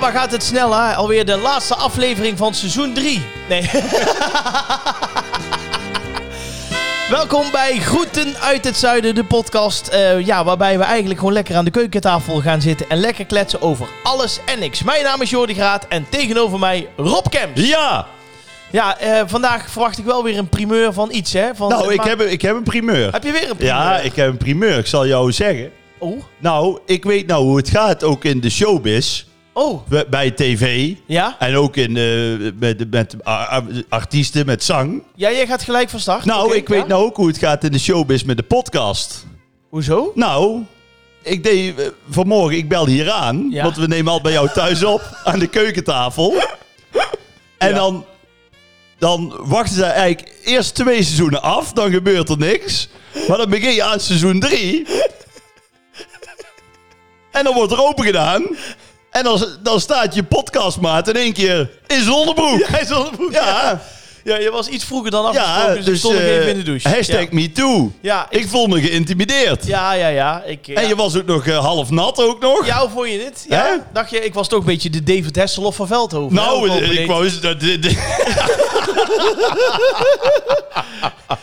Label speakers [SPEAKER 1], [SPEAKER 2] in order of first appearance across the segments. [SPEAKER 1] waar gaat het snel, hè? Alweer de laatste aflevering van seizoen 3. Nee. Welkom bij Groeten uit het Zuiden, de podcast. eh, ja, waarbij we eigenlijk gewoon lekker aan de keukentafel gaan zitten en lekker kletsen over alles en niks. Mijn naam is Jordi Graat en tegenover mij Rob Kemps.
[SPEAKER 2] Ja!
[SPEAKER 1] Ja, eh, vandaag verwacht ik wel weer een primeur van iets, hè? Van,
[SPEAKER 2] Nou, ik
[SPEAKER 1] maar-
[SPEAKER 2] heb, ik heb een primeur.
[SPEAKER 1] Heb je weer een primeur?
[SPEAKER 2] Ja, ik heb een primeur. Ik zal jou zeggen.
[SPEAKER 1] Oh,
[SPEAKER 2] Nou, ik weet nou hoe het gaat, ook in de showbiz,
[SPEAKER 1] oh,
[SPEAKER 2] bij- bij tv.
[SPEAKER 1] ja?
[SPEAKER 2] En ook in, eh, met, met a- a- artiesten, met zang.
[SPEAKER 1] Ja, jij gaat gelijk van start.
[SPEAKER 2] Nou,
[SPEAKER 1] Oké,
[SPEAKER 2] ik weet
[SPEAKER 1] ja.
[SPEAKER 2] nou ook hoe het gaat in de showbiz met de podcast.
[SPEAKER 1] Hoezo?
[SPEAKER 2] Nou, ik deed eh, vanmorgen, ik belde hier aan,
[SPEAKER 1] Ja.
[SPEAKER 2] want we nemen al bij jou thuis op, aan de keukentafel. En
[SPEAKER 1] Ja.
[SPEAKER 2] dan, dan wachten ze eigenlijk eerst twee seizoenen af, dan gebeurt er niks. Maar dan begin je aan seizoen drie. En dan wordt er open gedaan. En dan, dan staat je podcastmaat in één keer in zonnebroek.
[SPEAKER 1] Hij is al
[SPEAKER 2] Ja, ja,
[SPEAKER 1] Ja, je was iets vroeger dan afgesproken, dus, ik stond nog
[SPEAKER 2] eh,
[SPEAKER 1] even in de douche.
[SPEAKER 2] hashtag
[SPEAKER 1] Ja,
[SPEAKER 2] MeToo.
[SPEAKER 1] ja ik...
[SPEAKER 2] Ik voel me geïntimideerd.
[SPEAKER 1] Ja, ja, ja. Ik, ja.
[SPEAKER 2] En je was ook nog eh, half nat ook nog.
[SPEAKER 1] Ja, hoe vond je dit? Ja,
[SPEAKER 2] Hè?
[SPEAKER 1] dacht je, ik was toch een beetje de David Hasselhoff van Veldhoven. hè,
[SPEAKER 2] Nou,
[SPEAKER 1] ook al
[SPEAKER 2] eh, ik
[SPEAKER 1] beneden.
[SPEAKER 2] wou eens... dat- dit- dit-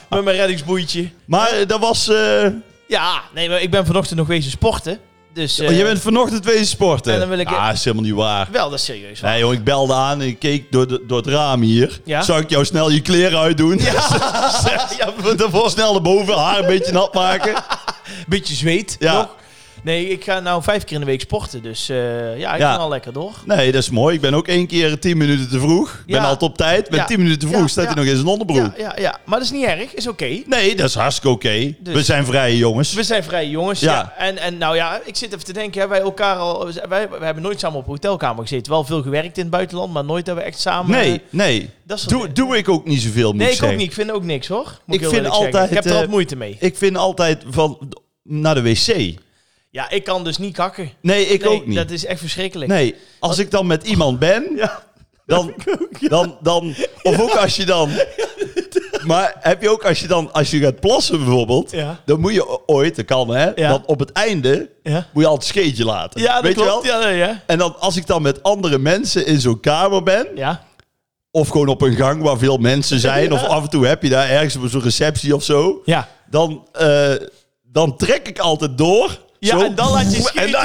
[SPEAKER 1] Met mijn reddingsboeitje.
[SPEAKER 2] Maar eh, dat was... eh,
[SPEAKER 1] Ja, nee, maar ik ben vanochtend nog wezen sporten. Dus eh,
[SPEAKER 2] Oh, je bent vanochtend wezen sporten.
[SPEAKER 1] en dan wil ik-
[SPEAKER 2] Ah, is helemaal niet waar.
[SPEAKER 1] wel, dat is serieus. waar.
[SPEAKER 2] Nee joh, ik belde aan en ik keek door, de- door het raam hier.
[SPEAKER 1] Ja?
[SPEAKER 2] Zou ik jou snel je kleren uitdoen?
[SPEAKER 1] ja,
[SPEAKER 2] Daarvoor snel naar boven, haar een beetje nat maken.
[SPEAKER 1] beetje zweet
[SPEAKER 2] Ja.
[SPEAKER 1] nog. Nee, ik ga nou vijf keer in de week sporten. Dus eh, ja, ik
[SPEAKER 2] Ja.
[SPEAKER 1] ben al lekker door.
[SPEAKER 2] Nee, dat is mooi. Ik ben ook één keer tien minuten te vroeg. Ik ben
[SPEAKER 1] Ja.
[SPEAKER 2] altijd op tijd. Ben
[SPEAKER 1] Ja.
[SPEAKER 2] tien minuten te vroeg,
[SPEAKER 1] Ja,
[SPEAKER 2] staat
[SPEAKER 1] ja.
[SPEAKER 2] hij nog in zijn onderbroek.
[SPEAKER 1] Ja, ja, ja, maar dat is niet erg. Is oké.
[SPEAKER 2] Nee, dat is hartstikke oké.
[SPEAKER 1] Dus-
[SPEAKER 2] We zijn vrije jongens.
[SPEAKER 1] We zijn vrije jongens. Ja.
[SPEAKER 2] Ja.
[SPEAKER 1] En, en nou ja, ik zit even te denken, hebben wij elkaar al. Wij, wij hebben nooit samen op een hotelkamer gezeten. Wel veel gewerkt in het buitenland, maar nooit dat we echt samen.
[SPEAKER 2] Nee,
[SPEAKER 1] eh,
[SPEAKER 2] nee.
[SPEAKER 1] dat soort
[SPEAKER 2] Doe,
[SPEAKER 1] dingen.
[SPEAKER 2] doe ik ook niet zoveel, moet
[SPEAKER 1] Nee, ik ook
[SPEAKER 2] zeggen.
[SPEAKER 1] niet. Ik vind ook niks hoor. Moet
[SPEAKER 2] Ik
[SPEAKER 1] heel
[SPEAKER 2] vind
[SPEAKER 1] eerlijk zeggen. Ik
[SPEAKER 2] altijd,
[SPEAKER 1] heb er
[SPEAKER 2] eh,
[SPEAKER 1] wat moeite mee.
[SPEAKER 2] Ik vind altijd van naar de wc.
[SPEAKER 1] Ja, ik kan dus niet kakken.
[SPEAKER 2] Nee, ik
[SPEAKER 1] Nee,
[SPEAKER 2] ook niet.
[SPEAKER 1] Dat is echt verschrikkelijk.
[SPEAKER 2] Nee, als ik dan met iemand ben, dan, dan, dan, of ook als je dan. Maar heb je ook als je dan, als je gaat plassen bijvoorbeeld,
[SPEAKER 1] Ja.
[SPEAKER 2] dan moet je o- ooit, dat kan hè,
[SPEAKER 1] Ja.
[SPEAKER 2] dan op het einde
[SPEAKER 1] Ja,
[SPEAKER 2] moet je altijd een scheetje laten.
[SPEAKER 1] ja dat
[SPEAKER 2] Weet
[SPEAKER 1] klopt.
[SPEAKER 2] je wel?
[SPEAKER 1] Ja, nee, ja.
[SPEAKER 2] En dan, als ik dan met andere mensen in zo'n kamer ben,
[SPEAKER 1] ja.
[SPEAKER 2] of gewoon op een gang waar veel mensen zijn, of af en toe heb je daar ergens op zo'n receptie of zo,
[SPEAKER 1] Ja.
[SPEAKER 2] dan, eh, dan trek ik altijd door.
[SPEAKER 1] Ja,
[SPEAKER 2] Zo.
[SPEAKER 1] en dan laat je
[SPEAKER 2] En
[SPEAKER 1] schieten.
[SPEAKER 2] dan-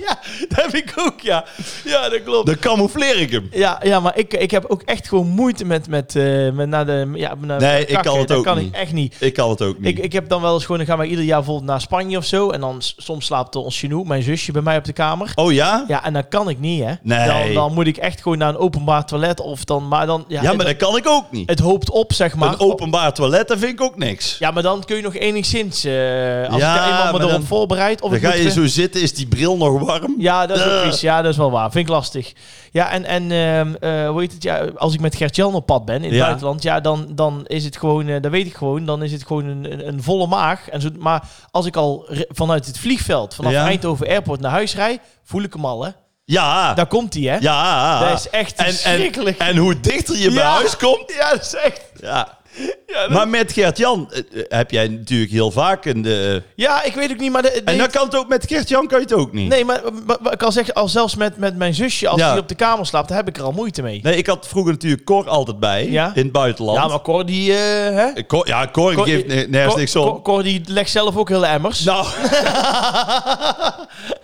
[SPEAKER 1] Ja, dat heb ik ook, ja. Ja, dat klopt.
[SPEAKER 2] dan camoufleer ik hem.
[SPEAKER 1] Ja, ja, maar ik, ik heb ook echt gewoon moeite met, met, eh, met naar de... Ja, naar
[SPEAKER 2] Nee, ik kan
[SPEAKER 1] kakken.
[SPEAKER 2] het
[SPEAKER 1] Dat
[SPEAKER 2] ook
[SPEAKER 1] kan
[SPEAKER 2] niet.
[SPEAKER 1] ik echt niet.
[SPEAKER 2] Ik kan het ook niet.
[SPEAKER 1] Ik, ik heb dan wel eens gewoon, dan gaan wij ieder jaar bijvoorbeeld naar Spanje of zo. En dan s- soms slaapt ons genoeg, mijn zusje, bij mij op de kamer.
[SPEAKER 2] Oh ja?
[SPEAKER 1] Ja, en dan kan ik niet, hè.
[SPEAKER 2] Nee.
[SPEAKER 1] Dan, dan moet ik echt gewoon naar een openbaar toilet of dan... Maar dan ja,
[SPEAKER 2] Ja, maar
[SPEAKER 1] het,
[SPEAKER 2] dat kan ik ook niet.
[SPEAKER 1] het hoopt op, zeg maar.
[SPEAKER 2] een openbaar toilet, dat vind ik ook niks.
[SPEAKER 1] Ja, maar dan kun je nog enigszins... eh, als
[SPEAKER 2] Ja,
[SPEAKER 1] ik daar eenmaal
[SPEAKER 2] maar
[SPEAKER 1] me erop
[SPEAKER 2] dan-
[SPEAKER 1] voorbereid... Of
[SPEAKER 2] Dan
[SPEAKER 1] ik
[SPEAKER 2] ga
[SPEAKER 1] moet
[SPEAKER 2] je
[SPEAKER 1] weer-
[SPEAKER 2] zo zitten, is die bril nog warm? Eh,
[SPEAKER 1] Ja, dat is ook
[SPEAKER 2] Duh.
[SPEAKER 1] iets. Ja, dat is wel waar. Vind ik lastig. Ja, en, en ehm, eh, hoe heet het? Ja, als ik met Gert-Jan op pad ben in het
[SPEAKER 2] Ja.
[SPEAKER 1] buitenland, ja, dan, dan is het gewoon, eh dat weet ik gewoon, dan is het gewoon een, een, een volle maag. En zo, maar als ik al re- vanuit het vliegveld, vanaf
[SPEAKER 2] Ja.
[SPEAKER 1] Eindhoven Airport naar huis rijd, voel ik hem al, hè?
[SPEAKER 2] Ja,
[SPEAKER 1] Daar komt hij, hè?
[SPEAKER 2] ja.
[SPEAKER 1] Dat is echt
[SPEAKER 2] en, en,
[SPEAKER 1] verschrikkelijk.
[SPEAKER 2] en hoe dichter je bij
[SPEAKER 1] Ja.
[SPEAKER 2] huis komt.
[SPEAKER 1] ja, dat is echt...
[SPEAKER 2] Ja.
[SPEAKER 1] Ja, dat-
[SPEAKER 2] Maar met Gert-Jan eh, eh, heb jij natuurlijk heel vaak een... De...
[SPEAKER 1] ja, ik weet ook niet, maar... De, de-
[SPEAKER 2] En dan kan het ook met Gert-Jan kan je het ook niet.
[SPEAKER 1] Nee, maar, maar- maar ik kan zeggen, al zelfs met, met mijn zusje, als
[SPEAKER 2] Ja.
[SPEAKER 1] die op de kamer slaapt, daar heb ik er al moeite mee.
[SPEAKER 2] Nee, ik had vroeger natuurlijk Cor altijd bij,
[SPEAKER 1] Ja.
[SPEAKER 2] in het buitenland.
[SPEAKER 1] Ja, maar Cor, die... eh, hè?
[SPEAKER 2] Eh, Cor, ja, Cor,
[SPEAKER 1] Cor-
[SPEAKER 2] geeft ne- nergens
[SPEAKER 1] Cor-
[SPEAKER 2] niks om.
[SPEAKER 1] Cor, Cor, die legt zelf ook hele emmers.
[SPEAKER 2] Nou.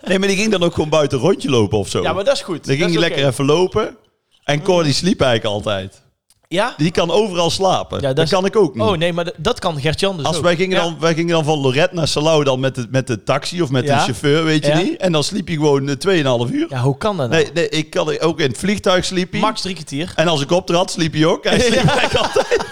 [SPEAKER 2] nee, maar die ging dan ook gewoon buiten een rondje lopen of zo.
[SPEAKER 1] Ja, maar dat is goed.
[SPEAKER 2] Dan ging
[SPEAKER 1] Dat
[SPEAKER 2] hij
[SPEAKER 1] is
[SPEAKER 2] lekker
[SPEAKER 1] oké.
[SPEAKER 2] even lopen. En Cor die sliep eigenlijk altijd.
[SPEAKER 1] Ja?
[SPEAKER 2] Die kan overal slapen.
[SPEAKER 1] Ja, dat
[SPEAKER 2] dat,
[SPEAKER 1] is-
[SPEAKER 2] kan ik ook niet.
[SPEAKER 1] Oh nee, maar d- dat kan Gert-Jan dus
[SPEAKER 2] Als
[SPEAKER 1] ook.
[SPEAKER 2] wij, gingen
[SPEAKER 1] Ja.
[SPEAKER 2] dan, wij gingen dan van Lorette naar Salau dan met de, met de taxi of met
[SPEAKER 1] Ja.
[SPEAKER 2] de chauffeur, weet je
[SPEAKER 1] Ja.
[SPEAKER 2] niet. En dan sliep hij gewoon eh, 2,5 uur.
[SPEAKER 1] Ja, hoe kan dat nou?
[SPEAKER 2] Nee, nee, ik kan ook in het vliegtuig sliep hij.
[SPEAKER 1] Max drie kwartier.
[SPEAKER 2] En als ik optrad, sliep hij ook. Hij sliep eigenlijk altijd.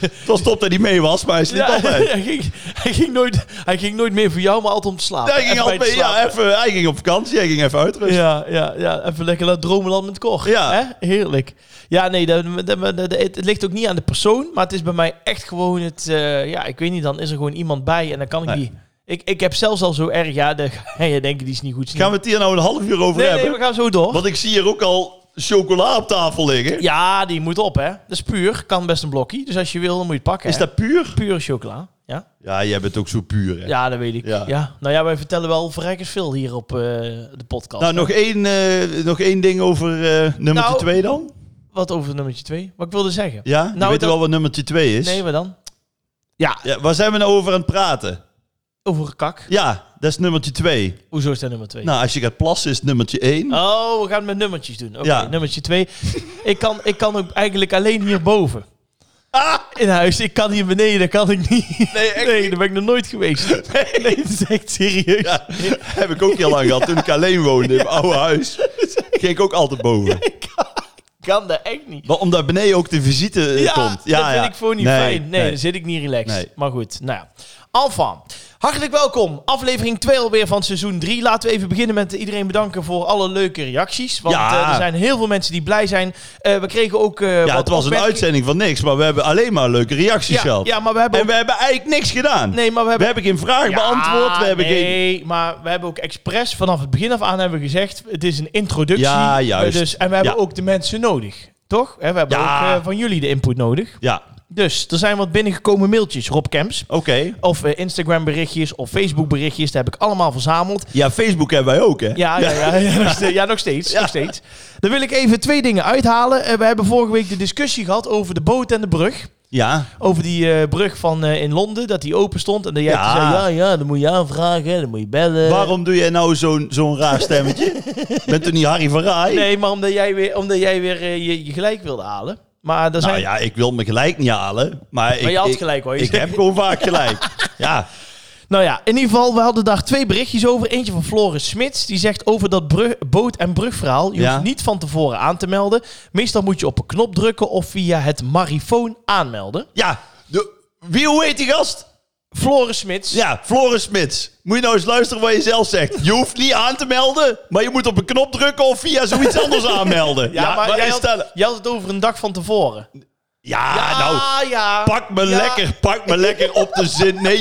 [SPEAKER 2] Het was top dat hij mee was, maar hij sliep
[SPEAKER 1] Ja,
[SPEAKER 2] altijd.
[SPEAKER 1] hij, ging, hij, ging nooit, hij ging nooit meer voor jou, maar altijd om te slapen.
[SPEAKER 2] Hij ging,
[SPEAKER 1] Even bij
[SPEAKER 2] altijd,
[SPEAKER 1] te
[SPEAKER 2] ja,
[SPEAKER 1] slapen.
[SPEAKER 2] even, hij ging op vakantie, hij ging even uitrusten.
[SPEAKER 1] Ja, ja, ja, even lekker naar het dromenland met Cor.
[SPEAKER 2] Ja.
[SPEAKER 1] Hè? Heerlijk. Ja, nee, dat, dat- dat- dat- het ligt ook niet aan de persoon, maar het is bij mij echt gewoon het... eh, ja, ik weet niet, dan is er gewoon iemand bij en dan kan ik
[SPEAKER 2] Nee.
[SPEAKER 1] die... Ik, ik heb zelfs al zo erg... Ja, dan ga je denken, die is niet goed.
[SPEAKER 2] Gaan we het hier nou een half uur over
[SPEAKER 1] nee,
[SPEAKER 2] hebben?
[SPEAKER 1] nee, we gaan zo door.
[SPEAKER 2] Want ik zie hier ook al chocola op tafel liggen.
[SPEAKER 1] Ja, die moet op, hè. Dat is puur. Kan best een blokje. Dus als je wil, dan moet je het pakken.
[SPEAKER 2] Is
[SPEAKER 1] hè.
[SPEAKER 2] dat puur?
[SPEAKER 1] pure chocola? Ja?
[SPEAKER 2] Ja, jij bent ook zo puur. Hè?
[SPEAKER 1] Ja, dat weet ik. Ja.
[SPEAKER 2] Ja.
[SPEAKER 1] Nou ja, wij vertellen wel verrekkers veel hier op eh, de podcast.
[SPEAKER 2] Nou, nog één, eh, nog één ding over eh, nummer
[SPEAKER 1] Nou.
[SPEAKER 2] twee dan.
[SPEAKER 1] Wat over nummertje 2? Wat ik wilde zeggen.
[SPEAKER 2] Ja? Je
[SPEAKER 1] Nou,
[SPEAKER 2] weet
[SPEAKER 1] dat-
[SPEAKER 2] wel wat nummer twee is.
[SPEAKER 1] Nee, maar dan? Ja,
[SPEAKER 2] Ja, waar zijn we nou over aan het praten?
[SPEAKER 1] over kak.
[SPEAKER 2] Ja, dat is nummertje twee.
[SPEAKER 1] Hoezo is dat nummer 2?
[SPEAKER 2] Nou, als je gaat plassen is nummertje één.
[SPEAKER 1] Oh, we gaan het met nummertjes doen. Oké,
[SPEAKER 2] Ja.
[SPEAKER 1] nummertje 2. ik, kan, ik kan ook eigenlijk alleen hierboven. In huis. Ik kan hier beneden, dat kan ik niet. Ah! Nee, daar ben ik nog nooit geweest. Nee, dat is echt serieus.
[SPEAKER 2] Ja, heb ik ook heel lang gehad. Toen ik alleen woonde in mijn oude huis, ging ik ook altijd boven.
[SPEAKER 1] Ik kan, ik kan dat echt niet.
[SPEAKER 2] Maar omdat beneden ook de visite eh,
[SPEAKER 1] Ja,
[SPEAKER 2] komt.
[SPEAKER 1] dat vind ik gewoon niet
[SPEAKER 2] Nee,
[SPEAKER 1] fijn. Nee,
[SPEAKER 2] nee.
[SPEAKER 1] dan zit ik niet relaxed.
[SPEAKER 2] Nee.
[SPEAKER 1] Maar goed, nou ja. Alfa, hartelijk welkom. Aflevering 2 alweer van seizoen 3. Laten we even beginnen met iedereen bedanken voor alle leuke reacties. Want
[SPEAKER 2] Ja.
[SPEAKER 1] eh, er zijn heel veel mensen die blij zijn. Eh, we kregen ook eh
[SPEAKER 2] Ja,
[SPEAKER 1] wat
[SPEAKER 2] het was een
[SPEAKER 1] opmerkingen.
[SPEAKER 2] uitzending van niks, maar we hebben alleen maar leuke reacties
[SPEAKER 1] Ja,
[SPEAKER 2] gehad.
[SPEAKER 1] ja, maar we hebben
[SPEAKER 2] En we hebben eigenlijk niks gedaan.
[SPEAKER 1] Nee, maar we
[SPEAKER 2] We
[SPEAKER 1] hebben...
[SPEAKER 2] hebben geen vraag beantwoord. We hebben geen...
[SPEAKER 1] nee, maar we hebben ook expres vanaf het begin af aan hebben we gezegd... het is een introductie.
[SPEAKER 2] Ja, juist.
[SPEAKER 1] Eh, Dus, en we hebben
[SPEAKER 2] Ja.
[SPEAKER 1] ook de mensen nodig. Toch? Hè, we hebben
[SPEAKER 2] Ja.
[SPEAKER 1] ook eh, van jullie de input nodig.
[SPEAKER 2] Ja,
[SPEAKER 1] Dus er zijn wat binnengekomen mailtjes, Rob Kemps.
[SPEAKER 2] oké.
[SPEAKER 1] Of eh, Instagram berichtjes of Facebook berichtjes. Dat heb ik allemaal verzameld.
[SPEAKER 2] Ja, Facebook hebben wij ook, hè?
[SPEAKER 1] Ja, ja, ja, ja, nog steeds. Ja, nog steeds, nog steeds. Dan wil ik even twee dingen uithalen. Eh, we hebben vorige week de discussie gehad over de boot en de brug.
[SPEAKER 2] Ja,
[SPEAKER 1] Over die eh, brug van eh, in Londen, dat die open stond. En dat jij
[SPEAKER 2] Ja.
[SPEAKER 1] toen zei, ja, ja, dan moet je aanvragen, dan moet je bellen.
[SPEAKER 2] Waarom doe jij nou zo'n zo'n raar stemmetje? Bent u niet Harry van Rij?
[SPEAKER 1] Nee, maar omdat jij weer, omdat jij weer eh, je, je gelijk wilde halen. Maar daar zijn...
[SPEAKER 2] Nou ja, ik wil me gelijk niet halen. Maar, ik,
[SPEAKER 1] je had
[SPEAKER 2] ik-
[SPEAKER 1] gelijk, hoor. Je
[SPEAKER 2] Ik
[SPEAKER 1] zegt-
[SPEAKER 2] heb gewoon vaak gelijk. Ja,
[SPEAKER 1] Nou ja, in ieder geval, we hadden daar twee berichtjes over. Eentje van Floris Smits, die zegt over dat brug- boot- en brugverhaal. Je
[SPEAKER 2] Ja.
[SPEAKER 1] hoeft niet van tevoren aan te melden. Meestal moet je op een knop drukken of via het marifoon aanmelden.
[SPEAKER 2] ja. De, wie, hoe heet die gast?
[SPEAKER 1] Floris Smits.
[SPEAKER 2] Ja, Floris Smits. Moet je nou eens luisteren wat je zelf zegt. Je hoeft niet aan te melden, maar je moet op een knop drukken of via zoiets anders aanmelden.
[SPEAKER 1] Ja, maar
[SPEAKER 2] wat
[SPEAKER 1] jij
[SPEAKER 2] is
[SPEAKER 1] had,
[SPEAKER 2] dat?
[SPEAKER 1] jij had het over een dag van tevoren. Ah,
[SPEAKER 2] Ja, nou,
[SPEAKER 1] ja.
[SPEAKER 2] pak me
[SPEAKER 1] Ja.
[SPEAKER 2] lekker, pak me lekker op de zin. Nee,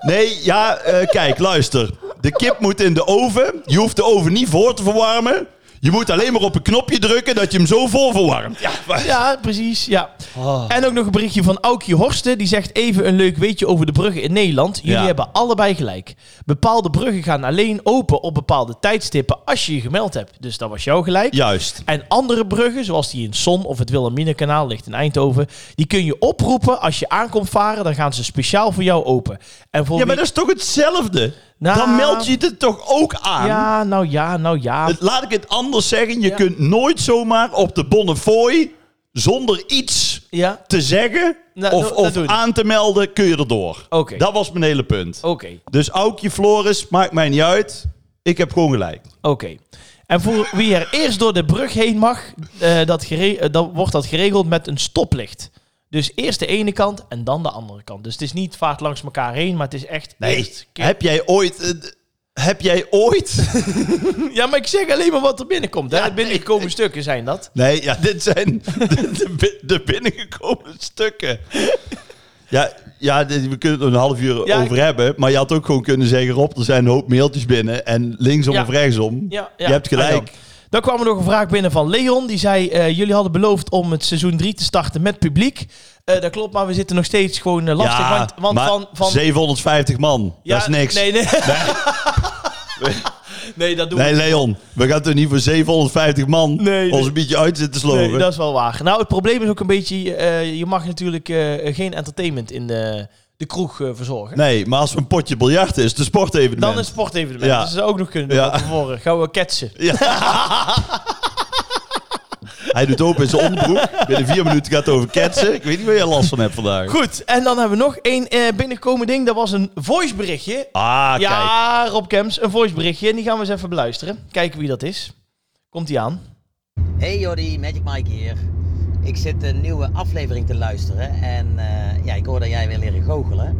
[SPEAKER 2] nee, ja, eh, kijk, luister. De kip moet in de oven. Je hoeft de oven niet voor te verwarmen. Je moet alleen maar op een knopje drukken dat je hem zo voor verwarmt. Ja, maar-
[SPEAKER 1] Ja, precies. Ja.
[SPEAKER 2] Ah.
[SPEAKER 1] En ook nog een berichtje van Aukje Horsten. Die zegt even een leuk weetje over de bruggen in Nederland. Jullie
[SPEAKER 2] Ja.
[SPEAKER 1] hebben allebei gelijk. Bepaalde bruggen gaan alleen open op bepaalde tijdstippen als je je gemeld hebt. Dus dat was jouw gelijk.
[SPEAKER 2] juist.
[SPEAKER 1] En andere bruggen, zoals die in Son of het Wilhelminenkanaal ligt in Eindhoven, die kun je oproepen als je aankomt varen. Dan gaan ze speciaal voor jou open. En voor
[SPEAKER 2] Ja, maar
[SPEAKER 1] wie-
[SPEAKER 2] dat is toch hetzelfde?
[SPEAKER 1] Nou.
[SPEAKER 2] Dan meld je het toch ook aan?
[SPEAKER 1] ja, nou ja, nou ja.
[SPEAKER 2] Het- Laat ik het anders zeggen. Je
[SPEAKER 1] Ja.
[SPEAKER 2] kunt nooit zomaar op de Bonnefoy zonder iets
[SPEAKER 1] Ja,
[SPEAKER 2] te zeggen
[SPEAKER 1] Nou,
[SPEAKER 2] of,
[SPEAKER 1] dat
[SPEAKER 2] of
[SPEAKER 1] doe ik.
[SPEAKER 2] aan te melden, kun je erdoor.
[SPEAKER 1] Oké. Oh.
[SPEAKER 2] Dat was mijn hele punt.
[SPEAKER 1] oké.
[SPEAKER 2] Dus Aukje Floris, maakt mij niet uit. Ik heb gewoon gelijk.
[SPEAKER 1] Oké. En voor wie er eerst door de brug heen mag, eh, dat gere- eh, dan wordt dat geregeld met een stoplicht. Dus eerst de ene kant en dan de andere kant. Dus het is niet vaart langs elkaar heen, maar het is echt... eerst-
[SPEAKER 2] Heb jij ooit... eh, d- heb jij ooit...
[SPEAKER 1] Ja, maar ik zeg alleen maar wat er binnenkomt. Hè? Binnengekomen stukken zijn dat.
[SPEAKER 2] Nee, ja, dit zijn de, de bi- de binnengekomen stukken. Ja, ja, dit- we kunnen het er een half uur
[SPEAKER 1] Ja,
[SPEAKER 2] over hebben. Maar je had ook gewoon kunnen zeggen... Rob, er zijn een hoop mailtjes binnen. En linksom
[SPEAKER 1] Ja.
[SPEAKER 2] of rechtsom.
[SPEAKER 1] Ja, ja.
[SPEAKER 2] Je hebt
[SPEAKER 1] Ah,
[SPEAKER 2] gelijk.
[SPEAKER 1] ja. Dan kwam er nog een vraag binnen van Leon. Die zei, eh, jullie hadden beloofd om het seizoen 3 te starten met publiek. Eh, dat klopt, maar we zitten nog steeds gewoon eh, lastig.
[SPEAKER 2] Ja,
[SPEAKER 1] want want
[SPEAKER 2] maar
[SPEAKER 1] van... van
[SPEAKER 2] 750 man,
[SPEAKER 1] ja,
[SPEAKER 2] dat is niks. Nee,
[SPEAKER 1] Nee, nee. nee, dat doen we
[SPEAKER 2] Leon, we gaan toch niet voor 750 man
[SPEAKER 1] Nee, nee.
[SPEAKER 2] ons een beetje uit zitten
[SPEAKER 1] Nee,
[SPEAKER 2] sloven?
[SPEAKER 1] dat is wel waar. Nou, het probleem is ook een beetje... eh, je mag natuurlijk eh, geen entertainment in de, de kroeg eh, verzorgen.
[SPEAKER 2] Nee, maar als het een potje biljart is, de sportevenement.
[SPEAKER 1] Dan is het sportevenement.
[SPEAKER 2] Ja.
[SPEAKER 1] Dus dat zou ook nog kunnen doen
[SPEAKER 2] Ja.
[SPEAKER 1] van tevoren. Gaan we ketsen.
[SPEAKER 2] Hij doet open in zijn onderbroek. Binnen vier minuten gaat het over ketsen. Ik weet niet waar jij last van hebt vandaag.
[SPEAKER 1] Goed, en dan hebben we nog één eh binnengekomen ding. Dat was een voiceberichtje.
[SPEAKER 2] Ah, kijk.
[SPEAKER 1] Ja, Rob Kemps, een voiceberichtje. En die gaan we eens even beluisteren. Kijken wie dat is. Komt die aan?
[SPEAKER 3] Hey Jordi, Magic Mike hier. Ik zit een nieuwe aflevering te luisteren en eh, ja, ik hoor dat jij wil leren goochelen.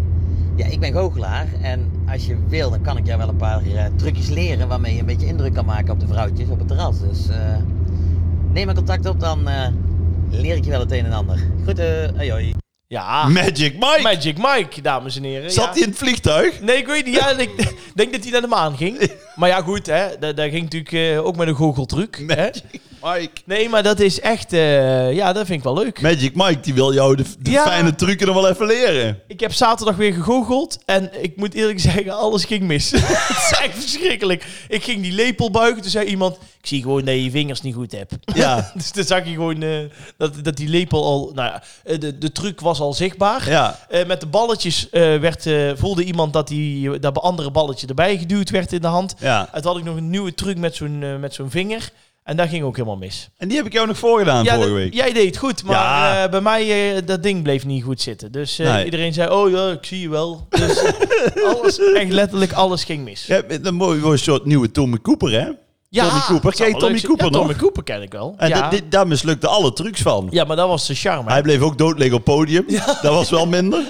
[SPEAKER 3] Ja, ik ben goochelaar en als je wil, dan kan ik jou wel een paar eh, trucjes leren waarmee je een beetje indruk kan maken op de vrouwtjes op het terras. Dus eh, neem maar contact op, dan eh, leer ik je wel het een en ander. Groeten, hoi hoi.
[SPEAKER 1] Ja,
[SPEAKER 2] Magic Mike.
[SPEAKER 1] Magic Mike, dames en heren.
[SPEAKER 2] Zat
[SPEAKER 1] Ja.
[SPEAKER 2] hij in het vliegtuig?
[SPEAKER 1] Nee, ik weet niet. Ja, ik denk dat hij naar de maan ging. Maar ja, goed, hè. Dat, dat ging natuurlijk eh, ook met een goocheltruc. Hè?
[SPEAKER 2] Mike.
[SPEAKER 1] Nee, maar dat is echt... eh, ja, dat vind ik wel leuk.
[SPEAKER 2] Magic Mike, die wil jou de, de
[SPEAKER 1] Ja.
[SPEAKER 2] fijne trucken nog wel even leren.
[SPEAKER 1] Ik heb zaterdag weer gegoocheld en ik moet eerlijk zeggen, alles ging mis. het is echt verschrikkelijk. Ik ging die lepel buigen, toen zei iemand, ik zie gewoon dat je je vingers niet goed hebt.
[SPEAKER 2] Ja,
[SPEAKER 1] dus toen zag je gewoon eh, dat, dat die lepel al, nou ja, eh, de, de truc was al zichtbaar.
[SPEAKER 2] ja.
[SPEAKER 1] Eh, met de balletjes eh, werd, eh, voelde iemand dat die, dat andere balletje erbij geduwd werd in de hand.
[SPEAKER 2] Ja,
[SPEAKER 1] En toen had ik nog een nieuwe truc met zo'n eh, met zo'n vinger. En dat ging ook helemaal mis.
[SPEAKER 2] en die heb ik jou nog voorgedaan
[SPEAKER 1] Ja,
[SPEAKER 2] vorige
[SPEAKER 1] dat-
[SPEAKER 2] week.
[SPEAKER 1] Jij deed het goed, maar
[SPEAKER 2] Ja.
[SPEAKER 1] eh, bij mij eh, dat ding bleef niet goed zitten. Dus eh,
[SPEAKER 2] Nee.
[SPEAKER 1] iedereen zei, oh ja, ik zie je wel. Dus alles, echt letterlijk alles ging mis.
[SPEAKER 2] Je hebt een mooi mooi soort nieuwe Tommy Cooper, hè? Tommy Cooper.
[SPEAKER 1] het zou
[SPEAKER 2] Ken
[SPEAKER 1] wel
[SPEAKER 2] je Tommy
[SPEAKER 1] leuk zijn.
[SPEAKER 2] Cooper
[SPEAKER 1] Ja,
[SPEAKER 2] nog?
[SPEAKER 1] Tommy Cooper ken ik wel.
[SPEAKER 2] En
[SPEAKER 1] ja.
[SPEAKER 2] dit, dit- daar mislukte alle trucs van.
[SPEAKER 1] ja, maar dat was de charme.
[SPEAKER 2] Hij bleef ook doodliggen op het podium. Dat was wel minder.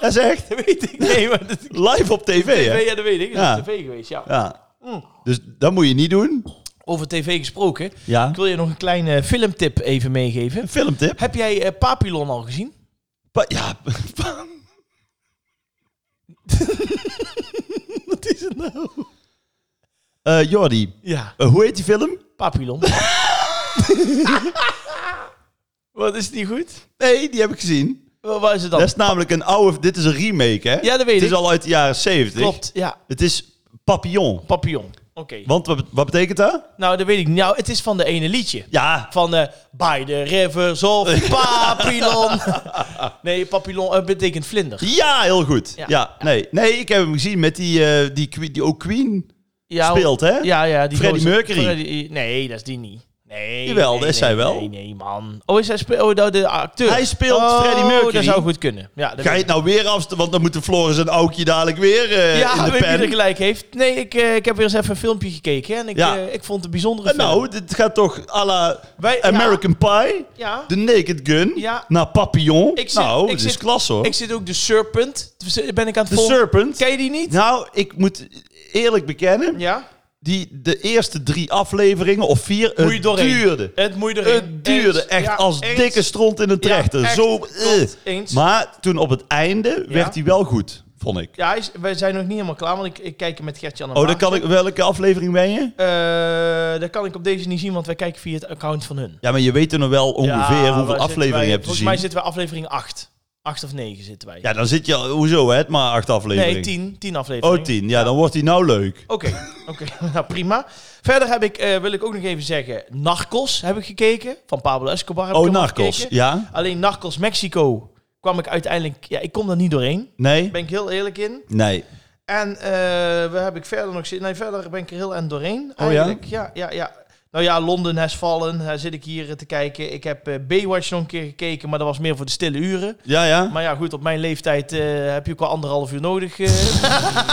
[SPEAKER 2] Dat is echt
[SPEAKER 1] Dat weet ik. Nee, maar dat,
[SPEAKER 2] live op tv, hè?
[SPEAKER 1] ja, dat weet ik. Dat
[SPEAKER 2] Ja.
[SPEAKER 1] is tv geweest, ja.
[SPEAKER 2] Ja.
[SPEAKER 1] Mm.
[SPEAKER 2] Dus dat moet je niet doen.
[SPEAKER 1] Over tv gesproken.
[SPEAKER 2] Ja.
[SPEAKER 1] Ik wil je nog een kleine filmtip even meegeven.
[SPEAKER 2] Een filmtip.
[SPEAKER 1] Heb jij eh, Papillon al gezien?
[SPEAKER 2] Pa- ja.
[SPEAKER 1] Wat is het nou?
[SPEAKER 2] Eh Jordi,
[SPEAKER 1] Ja,
[SPEAKER 2] eh, hoe heet die film?
[SPEAKER 1] Papillon. Wat is die goed?
[SPEAKER 2] Nee, die heb ik gezien.
[SPEAKER 1] Wa- Waar is het dan?
[SPEAKER 2] Dat is namelijk een oude... Dit is een remake, hè?
[SPEAKER 1] Oh. Ja, dat weet
[SPEAKER 2] Het is
[SPEAKER 1] ik.
[SPEAKER 2] al uit de jaren 70.
[SPEAKER 1] Klopt, ja.
[SPEAKER 2] Het is Papillon.
[SPEAKER 1] Papillon. Oké.
[SPEAKER 2] Want wat, wat betekent dat?
[SPEAKER 1] Nou, dat weet ik niet. Nou, het is van de ene liedje.
[SPEAKER 2] Ja.
[SPEAKER 1] Van eh By the Rivers of Papillon. nee, Papillon eh, betekent vlinder.
[SPEAKER 2] Ja, heel goed. Ja.
[SPEAKER 1] Ja.
[SPEAKER 2] Nee. nee, ik heb hem gezien met die, eh, die, que- die ook Queen
[SPEAKER 1] Ja,
[SPEAKER 2] speelt, hè?
[SPEAKER 1] Ja, ja. Die
[SPEAKER 2] Freddie
[SPEAKER 1] gozer-
[SPEAKER 2] Mercury.
[SPEAKER 1] Freddie- nee, dat is die niet. Nee.
[SPEAKER 2] Jawel,
[SPEAKER 1] nee,
[SPEAKER 2] dat is
[SPEAKER 1] nee,
[SPEAKER 2] hij wel.
[SPEAKER 1] Nee, nee, man. Oh, is hij spe- oh, nou, de acteur.
[SPEAKER 2] Hij speelt
[SPEAKER 1] Oh,
[SPEAKER 2] Freddie Mercury.
[SPEAKER 1] dat zou goed kunnen. Ja, dat
[SPEAKER 2] Ga je
[SPEAKER 1] weet
[SPEAKER 2] het nou weer af? Want dan moeten Floris en Aukje dadelijk weer eh,
[SPEAKER 1] ik. ja,
[SPEAKER 2] in de
[SPEAKER 1] weet wie er
[SPEAKER 2] pen.
[SPEAKER 1] gelijk heeft. Nee, ik, eh, ik heb weer eens even een filmpje gekeken. En ik,
[SPEAKER 2] Ja.
[SPEAKER 1] eh, ik vond het een bijzondere
[SPEAKER 2] Eh,
[SPEAKER 1] film.
[SPEAKER 2] nou, dit gaat toch à la
[SPEAKER 1] Wij-
[SPEAKER 2] American Pie,
[SPEAKER 1] Ja.
[SPEAKER 2] The Naked Gun,
[SPEAKER 1] Ja.
[SPEAKER 2] naar Papillon.
[SPEAKER 1] Ik zit-
[SPEAKER 2] nou,
[SPEAKER 1] ik
[SPEAKER 2] dit is
[SPEAKER 1] zit-
[SPEAKER 2] klasse hoor.
[SPEAKER 1] Ik zit ook de Serpent. Ben ik aan het
[SPEAKER 2] The
[SPEAKER 1] volgen.
[SPEAKER 2] Serpent.
[SPEAKER 1] Ken je die niet?
[SPEAKER 2] Nou, ik moet eerlijk bekennen,
[SPEAKER 1] Ja.
[SPEAKER 2] die, de eerste drie afleveringen of vier,
[SPEAKER 1] Moet je
[SPEAKER 2] het
[SPEAKER 1] doorheen.
[SPEAKER 2] duurde.
[SPEAKER 1] Het moet je erin.
[SPEAKER 2] Het duurde
[SPEAKER 1] Eens.
[SPEAKER 2] echt
[SPEAKER 1] Ja,
[SPEAKER 2] als
[SPEAKER 1] eens.
[SPEAKER 2] dikke stront in een trechter.
[SPEAKER 1] echt.
[SPEAKER 2] Zo,
[SPEAKER 1] Klopt.
[SPEAKER 2] eh.
[SPEAKER 1] Eens.
[SPEAKER 2] Maar toen op het einde werd hij wel goed, vond ik.
[SPEAKER 1] Ja, hij is- wij zijn nog niet helemaal klaar, want ik, ik kijk hem met Gertjan en
[SPEAKER 2] Oh, dan
[SPEAKER 1] Maarten.
[SPEAKER 2] kan ik, welke aflevering ben je?
[SPEAKER 1] Eh, dat kan ik op deze niet zien, want wij kijken via het account van hun.
[SPEAKER 2] Ja, maar je weet er nog wel ongeveer
[SPEAKER 1] Ja, waar
[SPEAKER 2] hoeveel
[SPEAKER 1] zitten
[SPEAKER 2] afleveringen
[SPEAKER 1] wij?
[SPEAKER 2] je hebt te
[SPEAKER 1] Volgens
[SPEAKER 2] zien.
[SPEAKER 1] mij zitten we aflevering 8. 8 of 9 zitten wij.
[SPEAKER 2] Ja, dan zit je, al- hoezo hè, het maar acht afleveringen.
[SPEAKER 1] nee, 10. 10 afleveringen.
[SPEAKER 2] Oh, tien. Ja, dan wordt hij nou leuk.
[SPEAKER 1] Oké, oké. nou prima. Verder heb ik, eh, wil ik ook nog even zeggen, Narcos heb ik gekeken. Van Pablo Escobar heb ik
[SPEAKER 2] Oh,
[SPEAKER 1] hem al
[SPEAKER 2] Narcos.
[SPEAKER 1] gekeken.
[SPEAKER 2] Ja?
[SPEAKER 1] Alleen Narcos Mexico kwam ik uiteindelijk... Ja, ik kom er niet doorheen.
[SPEAKER 2] Nee?
[SPEAKER 1] Ben ik heel eerlijk in.
[SPEAKER 2] Nee.
[SPEAKER 1] En eh we heb ik verder nog zin. Nee, verder ben ik er heel en doorheen.
[SPEAKER 2] Oh ja?
[SPEAKER 1] Eigenlijk. ja? Ja, ja, Nou ja, Londen has fallen. Daar zit ik hier eh, te kijken. Ik heb eh, Baywatch nog een keer gekeken, maar dat was meer voor de stille uren.
[SPEAKER 2] Ja, ja.
[SPEAKER 1] Maar ja, goed, op mijn leeftijd eh, heb je ook wel anderhalf uur nodig. eh.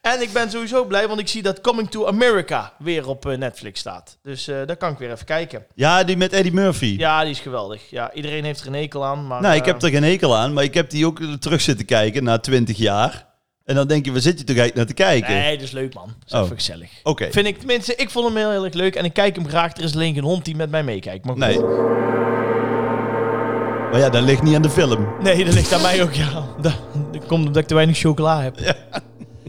[SPEAKER 1] en ik ben sowieso blij, want ik zie dat Coming to America weer op eh, Netflix staat. Dus eh daar kan ik weer even kijken.
[SPEAKER 2] Ja, die met Eddie Murphy.
[SPEAKER 1] Ja, die is geweldig. Ja, iedereen heeft er een hekel aan. Maar,
[SPEAKER 2] Nou, ik
[SPEAKER 1] eh,
[SPEAKER 2] heb er geen hekel aan, maar ik heb die ook terug zitten kijken na 20 jaar. En dan denk je, waar zit je toch eigenlijk naar te kijken?
[SPEAKER 1] Nee, dat is leuk, man. Dat is
[SPEAKER 2] Oh.
[SPEAKER 1] even gezellig.
[SPEAKER 2] Oké.
[SPEAKER 1] Vind ik, tenminste, ik vond hem heel, erg leuk en ik kijk hem graag. Er is alleen geen hond die met mij meekijkt. Maar goed.
[SPEAKER 2] Nee. Maar ja, dat ligt niet aan de film.
[SPEAKER 1] nee, dat ligt aan mij ook, ja. Dat, dat komt omdat ik te weinig chocola heb.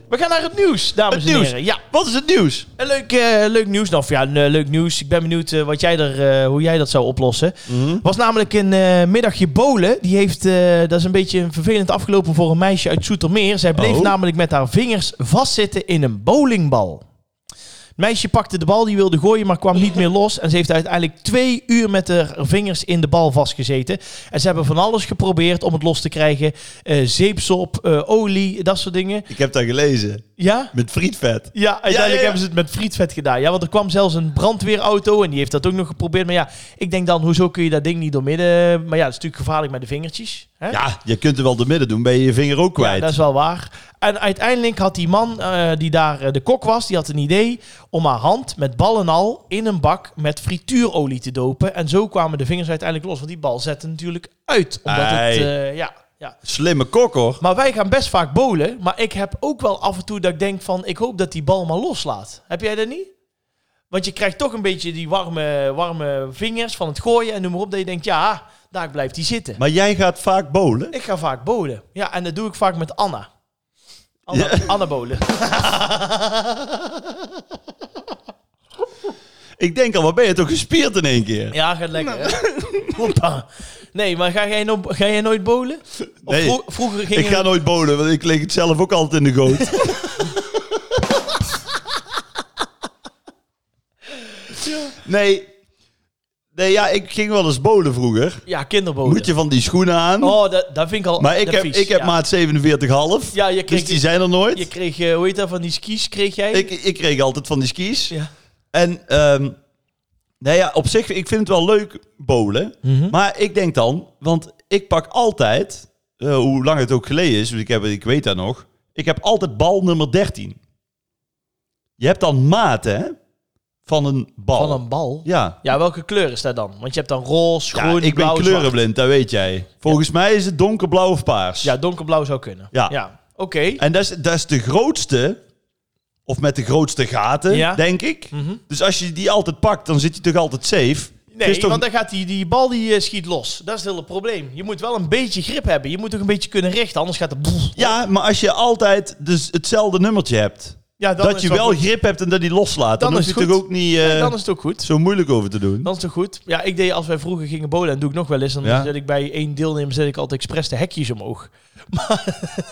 [SPEAKER 1] We gaan naar het nieuws, dames
[SPEAKER 2] Het
[SPEAKER 1] en
[SPEAKER 2] nieuws.
[SPEAKER 1] heren. Ja,
[SPEAKER 2] Wat is het nieuws?
[SPEAKER 1] een leuk, eh, leuk nieuws. Nou, of ja, een, eh, leuk nieuws. Ik ben benieuwd eh, wat jij er, eh, hoe jij dat zou oplossen. was namelijk een eh, middagje bolen. Die heeft, eh, dat is een beetje vervelend afgelopen voor een meisje uit Zoetermeer. Zij bleef
[SPEAKER 2] Oh.
[SPEAKER 1] namelijk met haar vingers vastzitten in een bowlingbal. Het meisje pakte de bal, die wilde gooien, maar kwam niet meer los. En ze heeft uiteindelijk twee uur met haar vingers in de bal vastgezeten. En ze hebben van alles geprobeerd om het los te krijgen. Eh, zeepsop, eh, olie, dat soort dingen.
[SPEAKER 2] Ik heb dat gelezen.
[SPEAKER 1] Ja?
[SPEAKER 2] Met frietvet.
[SPEAKER 1] Ja, uiteindelijk
[SPEAKER 2] ja, ja.
[SPEAKER 1] hebben ze het met frietvet gedaan. Ja, want er kwam zelfs een brandweerauto en die heeft dat ook nog geprobeerd. Maar ja, ik denk dan, hoezo kun je dat ding niet doormidden? Maar ja, dat is natuurlijk gevaarlijk met de vingertjes. Hè?
[SPEAKER 2] Ja, je kunt er wel door midden doen, ben je je vinger ook
[SPEAKER 1] Ja,
[SPEAKER 2] kwijt.
[SPEAKER 1] dat is wel waar. En uiteindelijk had die man eh, die daar eh, de kok was, die had een idee om haar hand met bal en al in een bak met frituurolie te dopen. En zo kwamen de vingers uiteindelijk los, want die bal zette natuurlijk uit. Omdat het,
[SPEAKER 2] Ei.
[SPEAKER 1] eh, ja, ja.
[SPEAKER 2] Slimme kok hoor.
[SPEAKER 1] Maar wij gaan best vaak bolen. Maar ik heb ook wel af en toe dat ik denk van... ik hoop dat die bal maar loslaat. Heb jij dat niet? Want je krijgt toch een beetje die warme, warme vingers van het gooien en noem maar op. Dat je denkt, ja, daar blijft die zitten.
[SPEAKER 2] Maar jij gaat vaak bowlen?
[SPEAKER 1] Ik ga vaak bolen. Ja, en dat doe ik vaak met Anna. Anna,
[SPEAKER 2] Ja.
[SPEAKER 1] Anna bolen.
[SPEAKER 2] Ik denk al, wat ben je toch gespierd in één keer?
[SPEAKER 1] Ja, gaat lekker. hè?
[SPEAKER 2] Nou.
[SPEAKER 1] Hoppa. Nee, maar ga jij, no ga jij nooit bowlen? Of
[SPEAKER 2] Nee.
[SPEAKER 1] vro- vroeger ging
[SPEAKER 2] Ik ga
[SPEAKER 1] je-
[SPEAKER 2] nooit bolen, want ik lig het zelf ook altijd in de goot. Nee. Nee, ja, ik ging wel eens bolen vroeger.
[SPEAKER 1] Oh, Ja, kinderbowlen.
[SPEAKER 2] Moet je van die schoenen aan.
[SPEAKER 1] Oh, dat, dat vind ik al
[SPEAKER 2] maar ik
[SPEAKER 1] dat
[SPEAKER 2] heb,
[SPEAKER 1] vies,
[SPEAKER 2] ik heb
[SPEAKER 1] ja.
[SPEAKER 2] maat 47,5.
[SPEAKER 1] Ja, je
[SPEAKER 2] dus
[SPEAKER 1] kreeg,
[SPEAKER 2] die zijn er nooit.
[SPEAKER 1] je kreeg eh, hoe heet dat, van die skis kreeg jij?
[SPEAKER 2] ik, ik kreeg altijd van die skis.
[SPEAKER 1] Ja.
[SPEAKER 2] En ehm nou ja, op zich, ik vind het wel leuk bowlen.
[SPEAKER 1] Mhm.
[SPEAKER 2] Maar ik denk dan, want ik pak altijd, eh, hoe lang het ook geleden is, dus ik, heb, ik weet dat nog. Ik heb altijd bal nummer 13. Je hebt dan maten hè, van een bal.
[SPEAKER 1] Van een bal? Ja.
[SPEAKER 2] Ja.
[SPEAKER 1] welke kleur is dat dan? Want je hebt dan roze,
[SPEAKER 2] Ja,
[SPEAKER 1] groen,
[SPEAKER 2] ik ben
[SPEAKER 1] blauw, zwart.
[SPEAKER 2] kleurenblind, dat weet jij. Volgens mij is het donkerblauw of paars.
[SPEAKER 1] Ja, donkerblauw zou kunnen.
[SPEAKER 2] Ja.
[SPEAKER 1] Oké.
[SPEAKER 2] En dat is, dat is de grootste, of met de grootste gaten,
[SPEAKER 1] Ja.
[SPEAKER 2] denk ik.
[SPEAKER 1] Mhm.
[SPEAKER 2] Dus als je die altijd pakt, dan zit je toch altijd safe. Het
[SPEAKER 1] Nee,
[SPEAKER 2] is toch-
[SPEAKER 1] want dan gaat die, die bal die eh, schiet los. Dat is het hele probleem. Je moet wel een beetje grip hebben. Je moet toch een beetje kunnen richten, anders gaat de...
[SPEAKER 2] Ja, maar als je altijd dus hetzelfde nummertje hebt.
[SPEAKER 1] Ja, dan
[SPEAKER 2] dat
[SPEAKER 1] is
[SPEAKER 2] je
[SPEAKER 1] het
[SPEAKER 2] wel
[SPEAKER 1] goed.
[SPEAKER 2] grip hebt en dat die loslaat. Dan,
[SPEAKER 1] Dan
[SPEAKER 2] hoef
[SPEAKER 1] is
[SPEAKER 2] je
[SPEAKER 1] het
[SPEAKER 2] toch
[SPEAKER 1] goed.
[SPEAKER 2] ook niet eh,
[SPEAKER 1] Nee, dan is het ook goed.
[SPEAKER 2] zo moeilijk over te doen.
[SPEAKER 1] Dan is het goed. Ja, ik deed als wij vroeger gingen bowlen, en doe ik nog wel eens, dan
[SPEAKER 2] Ja.
[SPEAKER 1] zet ik bij één deelnemer zet ik altijd expres de hekjes omhoog.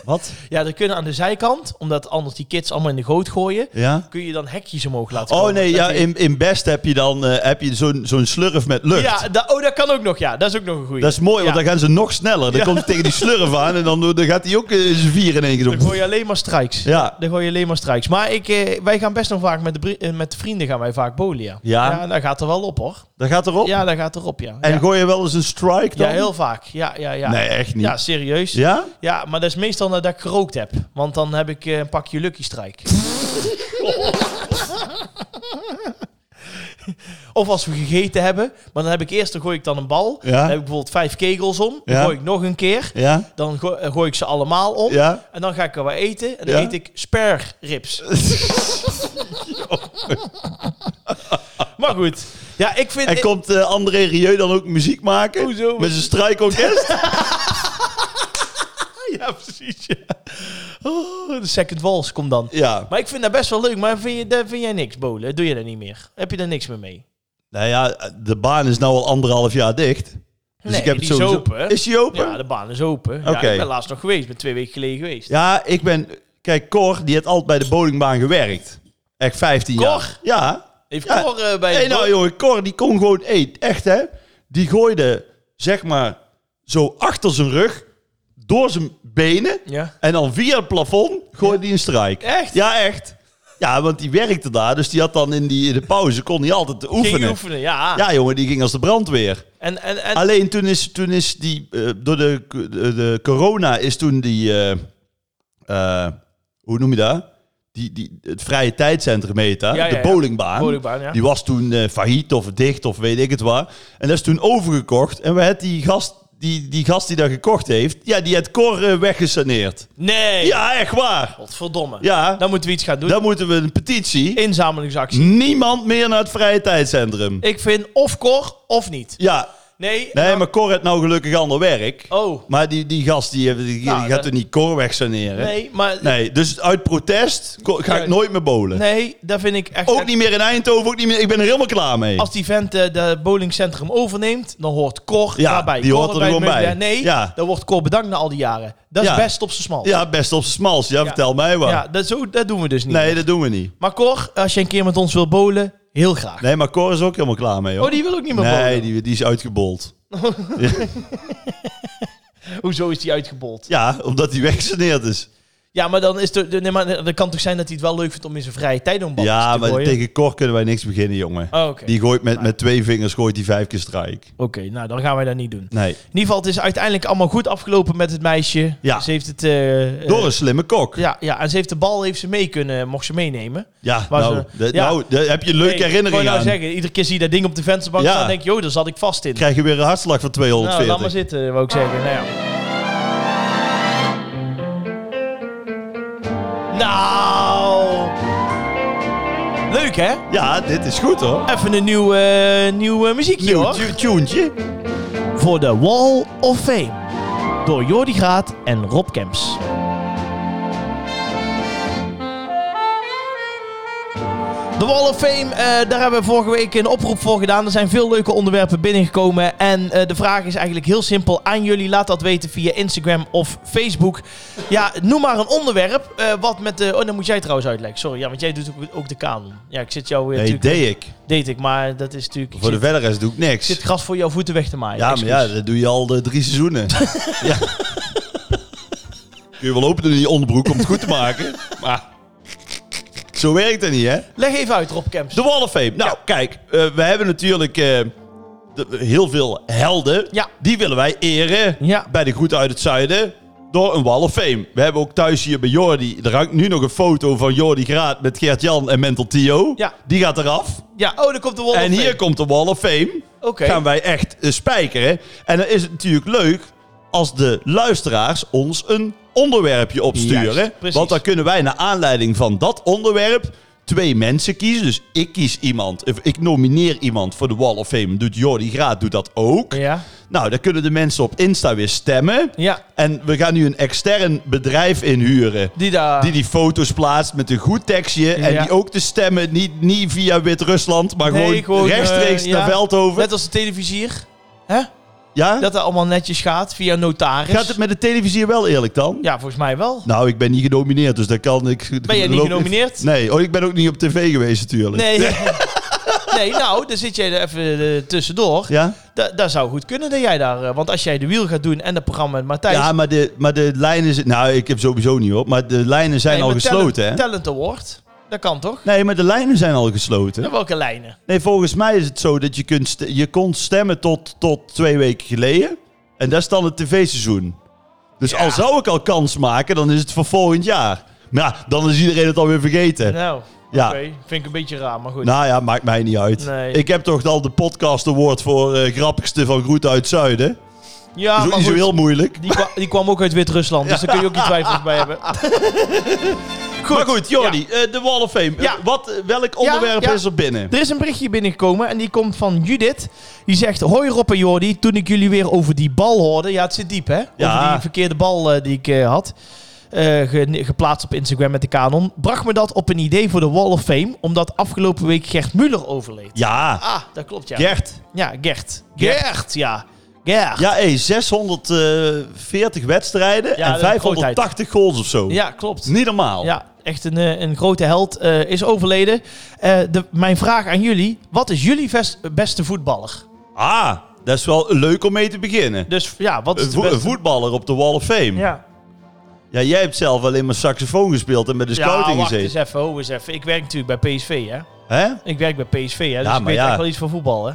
[SPEAKER 2] Wat?
[SPEAKER 1] Ja, dan kunnen aan de zijkant, omdat anders die kids allemaal in de goot gooien,
[SPEAKER 2] Ja?
[SPEAKER 1] kun je dan hekjes omhoog laten
[SPEAKER 2] Oh
[SPEAKER 1] komen.
[SPEAKER 2] nee,
[SPEAKER 1] Dat
[SPEAKER 2] ja,
[SPEAKER 1] die-
[SPEAKER 2] in, in Best heb je dan eh, heb je zo'n zo'n slurf met lucht.
[SPEAKER 1] Ja, da- oh, dat kan ook nog. Ja, dat is ook nog een goeie.
[SPEAKER 2] Dat is mooi, want
[SPEAKER 1] Ja.
[SPEAKER 2] dan gaan ze nog sneller. Dan
[SPEAKER 1] Ja.
[SPEAKER 2] komt hij tegen die slurf aan en dan, dan gaat hij ook eh, zijn vier in één keer
[SPEAKER 1] Dan gooi
[SPEAKER 2] op.
[SPEAKER 1] je alleen maar strikes.
[SPEAKER 2] Ja.
[SPEAKER 1] Dan gooi je alleen maar strikes. Maar ik, eh, wij gaan best nog vaak met de, bri- eh, met de vrienden gaan wij vaak bowlen, ja.
[SPEAKER 2] Ja.
[SPEAKER 1] dat gaat er wel op, hoor.
[SPEAKER 2] Dat gaat erop.
[SPEAKER 1] Ja, dat gaat erop, ja.
[SPEAKER 2] En
[SPEAKER 1] ja.
[SPEAKER 2] gooi je wel eens een strike dan?
[SPEAKER 1] ja, heel vaak. Ja, ja, ja.
[SPEAKER 2] Nee, echt niet.
[SPEAKER 1] Ja, serieus.
[SPEAKER 2] Ja?
[SPEAKER 1] Ja, maar dat is meestal nadat ik gerookt heb. Want dan heb ik eh, een pakje Lucky Strike. of als we gegeten hebben. Maar dan heb ik eerst dan gooi ik dan een bal.
[SPEAKER 2] Ja.
[SPEAKER 1] Dan heb ik bijvoorbeeld vijf kegels om. Dan
[SPEAKER 2] Ja.
[SPEAKER 1] gooi ik nog een keer.
[SPEAKER 2] Ja?
[SPEAKER 1] Dan go- eh, gooi ik ze allemaal om.
[SPEAKER 2] Ja?
[SPEAKER 1] En dan ga ik er wat eten. En dan
[SPEAKER 2] Ja.
[SPEAKER 1] eet ik sperrips. maar goed. Ja, ik vind...
[SPEAKER 2] En
[SPEAKER 1] ik-
[SPEAKER 2] komt eh, André Rieu dan ook muziek maken?
[SPEAKER 1] Hoezo?
[SPEAKER 2] Met zijn strijkorkest?
[SPEAKER 1] Ja, precies. ja. Oh, de second walls komt dan.
[SPEAKER 2] ja.
[SPEAKER 1] Maar ik vind dat best wel leuk. Maar vind, je, daar vind jij niks, bolen? Doe je dat niet meer? Heb je daar niks meer mee?
[SPEAKER 2] Nou ja, de baan is nou al anderhalf jaar dicht. Dus
[SPEAKER 1] Nee,
[SPEAKER 2] ik heb het
[SPEAKER 1] die is
[SPEAKER 2] sowieso-
[SPEAKER 1] open.
[SPEAKER 2] Is die open?
[SPEAKER 1] Ja,
[SPEAKER 2] Ja,
[SPEAKER 1] de baan is open.
[SPEAKER 2] Oké.
[SPEAKER 1] Ja, ik ben laatst nog geweest. Ik ben twee weken geleden geweest.
[SPEAKER 2] ik ben... Kijk, Cor, die heeft altijd bij de bowlingbaan gewerkt. Echt 15 jaar.
[SPEAKER 1] Cor?
[SPEAKER 2] Ja.
[SPEAKER 1] Heeft
[SPEAKER 2] Ja.
[SPEAKER 1] Cor eh, bij...
[SPEAKER 2] Hé,
[SPEAKER 1] de
[SPEAKER 2] nou
[SPEAKER 1] bo-
[SPEAKER 2] jongen, Cor, die kon gewoon... Hey, echt hè. Die gooide, zeg maar, zo achter zijn rug, door zijn benen...
[SPEAKER 1] Ja.
[SPEAKER 2] En dan via het plafond gooide hij een strijk.
[SPEAKER 1] Echt?
[SPEAKER 2] Ja, echt. Ja, want die werkte daar. Dus die had dan in, die, in de pauze, kon hij altijd oefenen.
[SPEAKER 1] Ging je oefenen, ja.
[SPEAKER 2] Ja, jongen, die ging als de brandweer.
[SPEAKER 1] En, en, en
[SPEAKER 2] Alleen toen is, toen is die, eh, door de, de, de corona is toen die, eh, eh, hoe noem je dat? Die, die, het Vrije Tijdcentrum heet dat,
[SPEAKER 1] Ja, ja,
[SPEAKER 2] de
[SPEAKER 1] ja.
[SPEAKER 2] bowlingbaan.
[SPEAKER 1] Bowlingbaan, ja.
[SPEAKER 2] Die was toen eh, failliet of dicht of weet ik het waar. En dat is toen overgekocht. En we had die gast, die, die gast die dat gekocht heeft, ja, die had Cor eh, weggesaneerd.
[SPEAKER 1] Nee.
[SPEAKER 2] Ja, echt waar.
[SPEAKER 1] Godverdomme.
[SPEAKER 2] Ja. Nou-
[SPEAKER 1] Dan moeten we iets gaan doen.
[SPEAKER 2] Dan moeten we een petitie.
[SPEAKER 1] Inzamelingsactie.
[SPEAKER 2] Niemand meer naar het Vrije Tijdcentrum.
[SPEAKER 1] Ik vind of Cor of niet.
[SPEAKER 2] Ja,
[SPEAKER 1] Nee.
[SPEAKER 2] nee,
[SPEAKER 1] dan-
[SPEAKER 2] maar Cor heeft nou gelukkig ander werk.
[SPEAKER 1] Oh.
[SPEAKER 2] Maar die, die gast die, die- die
[SPEAKER 1] Nou,
[SPEAKER 2] gaat
[SPEAKER 1] dat-
[SPEAKER 2] er niet koor weg saneren.
[SPEAKER 1] Nee,
[SPEAKER 2] Nee.
[SPEAKER 1] maar...
[SPEAKER 2] dus uit protest ko- ga ik
[SPEAKER 1] Ja.
[SPEAKER 2] nooit meer bowlen.
[SPEAKER 1] Nee, dat vind ik echt...
[SPEAKER 2] Ook niet meer in Eindhoven, ook niet meer. Ik ben er helemaal klaar mee.
[SPEAKER 1] Als die vent eh, de bowlingcentrum overneemt, dan hoort Cor
[SPEAKER 2] Ja,
[SPEAKER 1] daarbij.
[SPEAKER 2] die
[SPEAKER 1] Cor
[SPEAKER 2] hoort er
[SPEAKER 1] bij het
[SPEAKER 2] gewoon bij.
[SPEAKER 1] meubilair. Nee,
[SPEAKER 2] Ja.
[SPEAKER 1] dan wordt Cor bedankt na al die jaren. Dat is
[SPEAKER 2] Ja.
[SPEAKER 1] best op zijn smal.
[SPEAKER 2] Ja, best op z'n smals. Ja, vertel mij wat.
[SPEAKER 1] Ja, dat, zo, dat doen we dus niet.
[SPEAKER 2] nee,
[SPEAKER 1] meer.
[SPEAKER 2] dat doen we niet.
[SPEAKER 1] Maar Cor, als je een keer met ons wil bowlen, heel graag.
[SPEAKER 2] Nee, maar Cor is ook helemaal klaar mee. Hoor.
[SPEAKER 1] Oh, die wil ook niet meer
[SPEAKER 2] nee,
[SPEAKER 1] bowlen?
[SPEAKER 2] die, die is uitgebold.
[SPEAKER 1] Hoezo is die uitgebold?
[SPEAKER 2] Ja, omdat hij weggesaneerd is.
[SPEAKER 1] Ja, maar dan is de, de- nee, maar dat kan toch zijn dat hij het wel leuk vindt om in zijn vrije tijd om ballen
[SPEAKER 2] ja,
[SPEAKER 1] te
[SPEAKER 2] maar
[SPEAKER 1] gooien?
[SPEAKER 2] tegen Cor kunnen wij niks beginnen, jongen.
[SPEAKER 1] Oh, oké.
[SPEAKER 2] Die gooit met, met twee vingers gooit die vijf keer strijk.
[SPEAKER 1] Oké, nou dan gaan wij dat niet doen.
[SPEAKER 2] Nee.
[SPEAKER 1] In ieder geval, het is uiteindelijk allemaal goed afgelopen met het meisje.
[SPEAKER 2] Ja.
[SPEAKER 1] Ze heeft het... eh, eh,
[SPEAKER 2] Door een slimme kok. Ja,
[SPEAKER 1] ja, ja, en ze heeft de bal heeft ze mee kunnen, mocht ze meenemen. was
[SPEAKER 2] nou,
[SPEAKER 1] er-
[SPEAKER 2] dat-
[SPEAKER 1] ja.
[SPEAKER 2] nou, daar heb je een leuke
[SPEAKER 1] Hey,
[SPEAKER 2] herinnering
[SPEAKER 1] ik wou
[SPEAKER 2] aan.
[SPEAKER 1] nou zeggen, iedere keer zie je dat ding op de vensterbank
[SPEAKER 2] Ja.
[SPEAKER 1] staan, denk je, oh, daar zat ik vast in.
[SPEAKER 2] krijg je weer een hartslag van
[SPEAKER 1] nou, laat maar
[SPEAKER 2] 240.
[SPEAKER 1] zitten, wou ik zeggen. Nou, ja. nou. Leuk, hè?
[SPEAKER 2] ja, dit is goed hoor.
[SPEAKER 1] Even een nieuw, eh, nieuw eh, muziekje,
[SPEAKER 2] Nieuw
[SPEAKER 1] hoor.
[SPEAKER 2] tu- tuentje.
[SPEAKER 1] Voor de Wall of Fame. Door Jordi Graat en Rob Kemps. De Wall of Fame, eh, daar hebben we vorige week een oproep voor gedaan. Er zijn veel leuke onderwerpen binnengekomen. En eh, de vraag is eigenlijk heel simpel aan jullie. Laat dat weten via Instagram of Facebook. Ja, noem maar een onderwerp eh, wat met de... Oh, dan moet jij trouwens uitleggen. Sorry, ja, want jij doet ook, ook de kanon. Ja, ik zit jou weer...
[SPEAKER 2] Nee,
[SPEAKER 1] natuurlijk,
[SPEAKER 2] deed ik.
[SPEAKER 1] deed ik, maar dat is natuurlijk... Ik
[SPEAKER 2] Voor de
[SPEAKER 1] zit,
[SPEAKER 2] verder rest doe ik
[SPEAKER 1] ik zit
[SPEAKER 2] niks.
[SPEAKER 1] gras voor jouw voeten weg te maaien.
[SPEAKER 2] Ja, maar
[SPEAKER 1] Excuus.
[SPEAKER 2] ja, dat doe je al de drie seizoenen. ja. Kun je wel lopen in die onderbroek om het goed te maken. Maar zo werkt dat niet, hè?
[SPEAKER 1] Leg even uit, Rob Kemps.
[SPEAKER 2] De Wall of Fame. Nou, kijk, eh, we hebben natuurlijk eh, de- heel veel helden.
[SPEAKER 1] Ja.
[SPEAKER 2] Die willen wij eren
[SPEAKER 1] Ja.
[SPEAKER 2] bij de groeten uit het zuiden door een Wall of Fame. We hebben ook thuis hier bij Jordi, er hangt nu nog een foto van Jordi Graat met Gert-Jan en Mental Tio.
[SPEAKER 1] Ja.
[SPEAKER 2] Die gaat eraf.
[SPEAKER 1] Ja, oh, daar komt de Wall of
[SPEAKER 2] en hier
[SPEAKER 1] Fame.
[SPEAKER 2] komt de Wall of Fame.
[SPEAKER 1] Oké.
[SPEAKER 2] Gaan wij echt eh, spijkeren. En dan is het natuurlijk leuk als de luisteraars ons een onderwerpje opsturen.
[SPEAKER 1] Juist, precies.
[SPEAKER 2] want dan kunnen wij naar aanleiding van dat onderwerp twee mensen kiezen. Dus ik kies iemand, of ik nomineer iemand voor de Wall of Fame. Doet Jordi Graat, doet dat ook.
[SPEAKER 1] Ja,
[SPEAKER 2] Nou, dan kunnen de mensen op Insta weer stemmen.
[SPEAKER 1] ja.
[SPEAKER 2] En we gaan nu een extern bedrijf inhuren.
[SPEAKER 1] Die daar...
[SPEAKER 2] Die die foto's plaatst met een goed tekstje. En
[SPEAKER 1] Ja.
[SPEAKER 2] die ook de stemmen niet, niet via Wit-Rusland, maar
[SPEAKER 1] Nee,
[SPEAKER 2] gewoon,
[SPEAKER 1] gewoon,
[SPEAKER 2] rechtstreeks
[SPEAKER 1] eh,
[SPEAKER 2] naar
[SPEAKER 1] ja.
[SPEAKER 2] Veldhoven.
[SPEAKER 1] Net als de televisier. Hè?
[SPEAKER 2] ja?
[SPEAKER 1] Dat dat allemaal netjes gaat via notaris.
[SPEAKER 2] Gaat het met de televisie wel eerlijk dan?
[SPEAKER 1] Ja, volgens mij wel.
[SPEAKER 2] Nou, ik ben niet genomineerd, dus dat kan ik...
[SPEAKER 1] Ben jij niet
[SPEAKER 2] loop-
[SPEAKER 1] genomineerd?
[SPEAKER 2] Nee, oh, ik ben ook niet op tv geweest natuurlijk.
[SPEAKER 1] Nee. nee, nou, daar zit jij er even eh, tussendoor.
[SPEAKER 2] Ja?
[SPEAKER 1] Da- daar zou goed kunnen dat jij daar... eh, want als jij de wiel gaat doen en het programma met Matthijs...
[SPEAKER 2] Ja, maar de, maar de lijnen... zi- Nou, ik heb sowieso niet op, maar de lijnen zijn
[SPEAKER 1] Nee,
[SPEAKER 2] al
[SPEAKER 1] maar
[SPEAKER 2] gesloten, hè?
[SPEAKER 1] talent, Talent Award. Dat kan toch?
[SPEAKER 2] Nee, maar de lijnen zijn al gesloten.
[SPEAKER 1] En welke lijnen?
[SPEAKER 2] Nee, volgens mij is het zo dat je, kunt st- je kon stemmen tot, tot twee weken geleden. En dat is dan het tv-seizoen. Dus al zou ik al kans maken, dan is het voor volgend jaar. Maar ja, dan is iedereen het alweer vergeten.
[SPEAKER 1] Nou,
[SPEAKER 2] Ja.
[SPEAKER 1] oké. Vind ik een beetje raar, maar goed.
[SPEAKER 2] Nou ja, maakt mij niet uit.
[SPEAKER 1] Nee.
[SPEAKER 2] Ik heb toch al de podcast award voor eh, grappigste van Groet uit Zuiden. Dat
[SPEAKER 1] ja,
[SPEAKER 2] is ook
[SPEAKER 1] Ah, maar
[SPEAKER 2] niet zo
[SPEAKER 1] goed.
[SPEAKER 2] heel moeilijk.
[SPEAKER 1] Die, kwa- die kwam ook uit Wit-Rusland, dus daar kun je ook niet twijfels bij hebben. Goed.
[SPEAKER 2] Maar goed, Jordi, eh, de Wall of Fame.
[SPEAKER 1] Ja.
[SPEAKER 2] Eh, wat, eh, welk onderwerp
[SPEAKER 1] ja.
[SPEAKER 2] is er binnen?
[SPEAKER 1] Er is een berichtje binnengekomen en die komt van Judith. Die zegt, hoi Rob en Jordi, toen ik jullie weer over die bal hoorde... Ja, het zit diep, hè? Over
[SPEAKER 2] Ja.
[SPEAKER 1] die verkeerde bal eh, die ik eh, had. eh, ge- geplaatst op Instagram met de kanon. Bracht me dat op een idee voor de Wall of Fame... omdat afgelopen week Gert Muller overleed.
[SPEAKER 2] Ja,
[SPEAKER 1] Ah, dat klopt, ja.
[SPEAKER 2] Gert.
[SPEAKER 1] Ja, Gert.
[SPEAKER 2] Gert.
[SPEAKER 1] Gert, ja. Gert.
[SPEAKER 2] Ja, hé, 640 wedstrijden
[SPEAKER 1] Ja,
[SPEAKER 2] en
[SPEAKER 1] dat is een grootheid.
[SPEAKER 2] 580 goals of zo.
[SPEAKER 1] Ja, klopt.
[SPEAKER 2] Niet normaal.
[SPEAKER 1] Ja, echt een, eh, een grote held eh, is overleden. Eh, de, mijn vraag aan jullie. Wat is jullie ves- beste voetballer?
[SPEAKER 2] Ah, dat is wel leuk om mee te beginnen.
[SPEAKER 1] Dus ja, wat is
[SPEAKER 2] Een
[SPEAKER 1] de
[SPEAKER 2] vo-
[SPEAKER 1] beste...
[SPEAKER 2] een voetballer op de Wall of Fame. Ja.
[SPEAKER 1] Ja.
[SPEAKER 2] jij hebt zelf alleen maar saxofoon gespeeld en met de
[SPEAKER 1] Ja,
[SPEAKER 2] scouting
[SPEAKER 1] wacht eens
[SPEAKER 2] gezeten.
[SPEAKER 1] even, ho eens even. Ik werk natuurlijk bij PSV, hè.
[SPEAKER 2] Hè?
[SPEAKER 1] Ik werk bij PSV, hè. Dus
[SPEAKER 2] Ja,
[SPEAKER 1] ik
[SPEAKER 2] maar
[SPEAKER 1] weet
[SPEAKER 2] ja.
[SPEAKER 1] echt wel iets van voetbal, hè.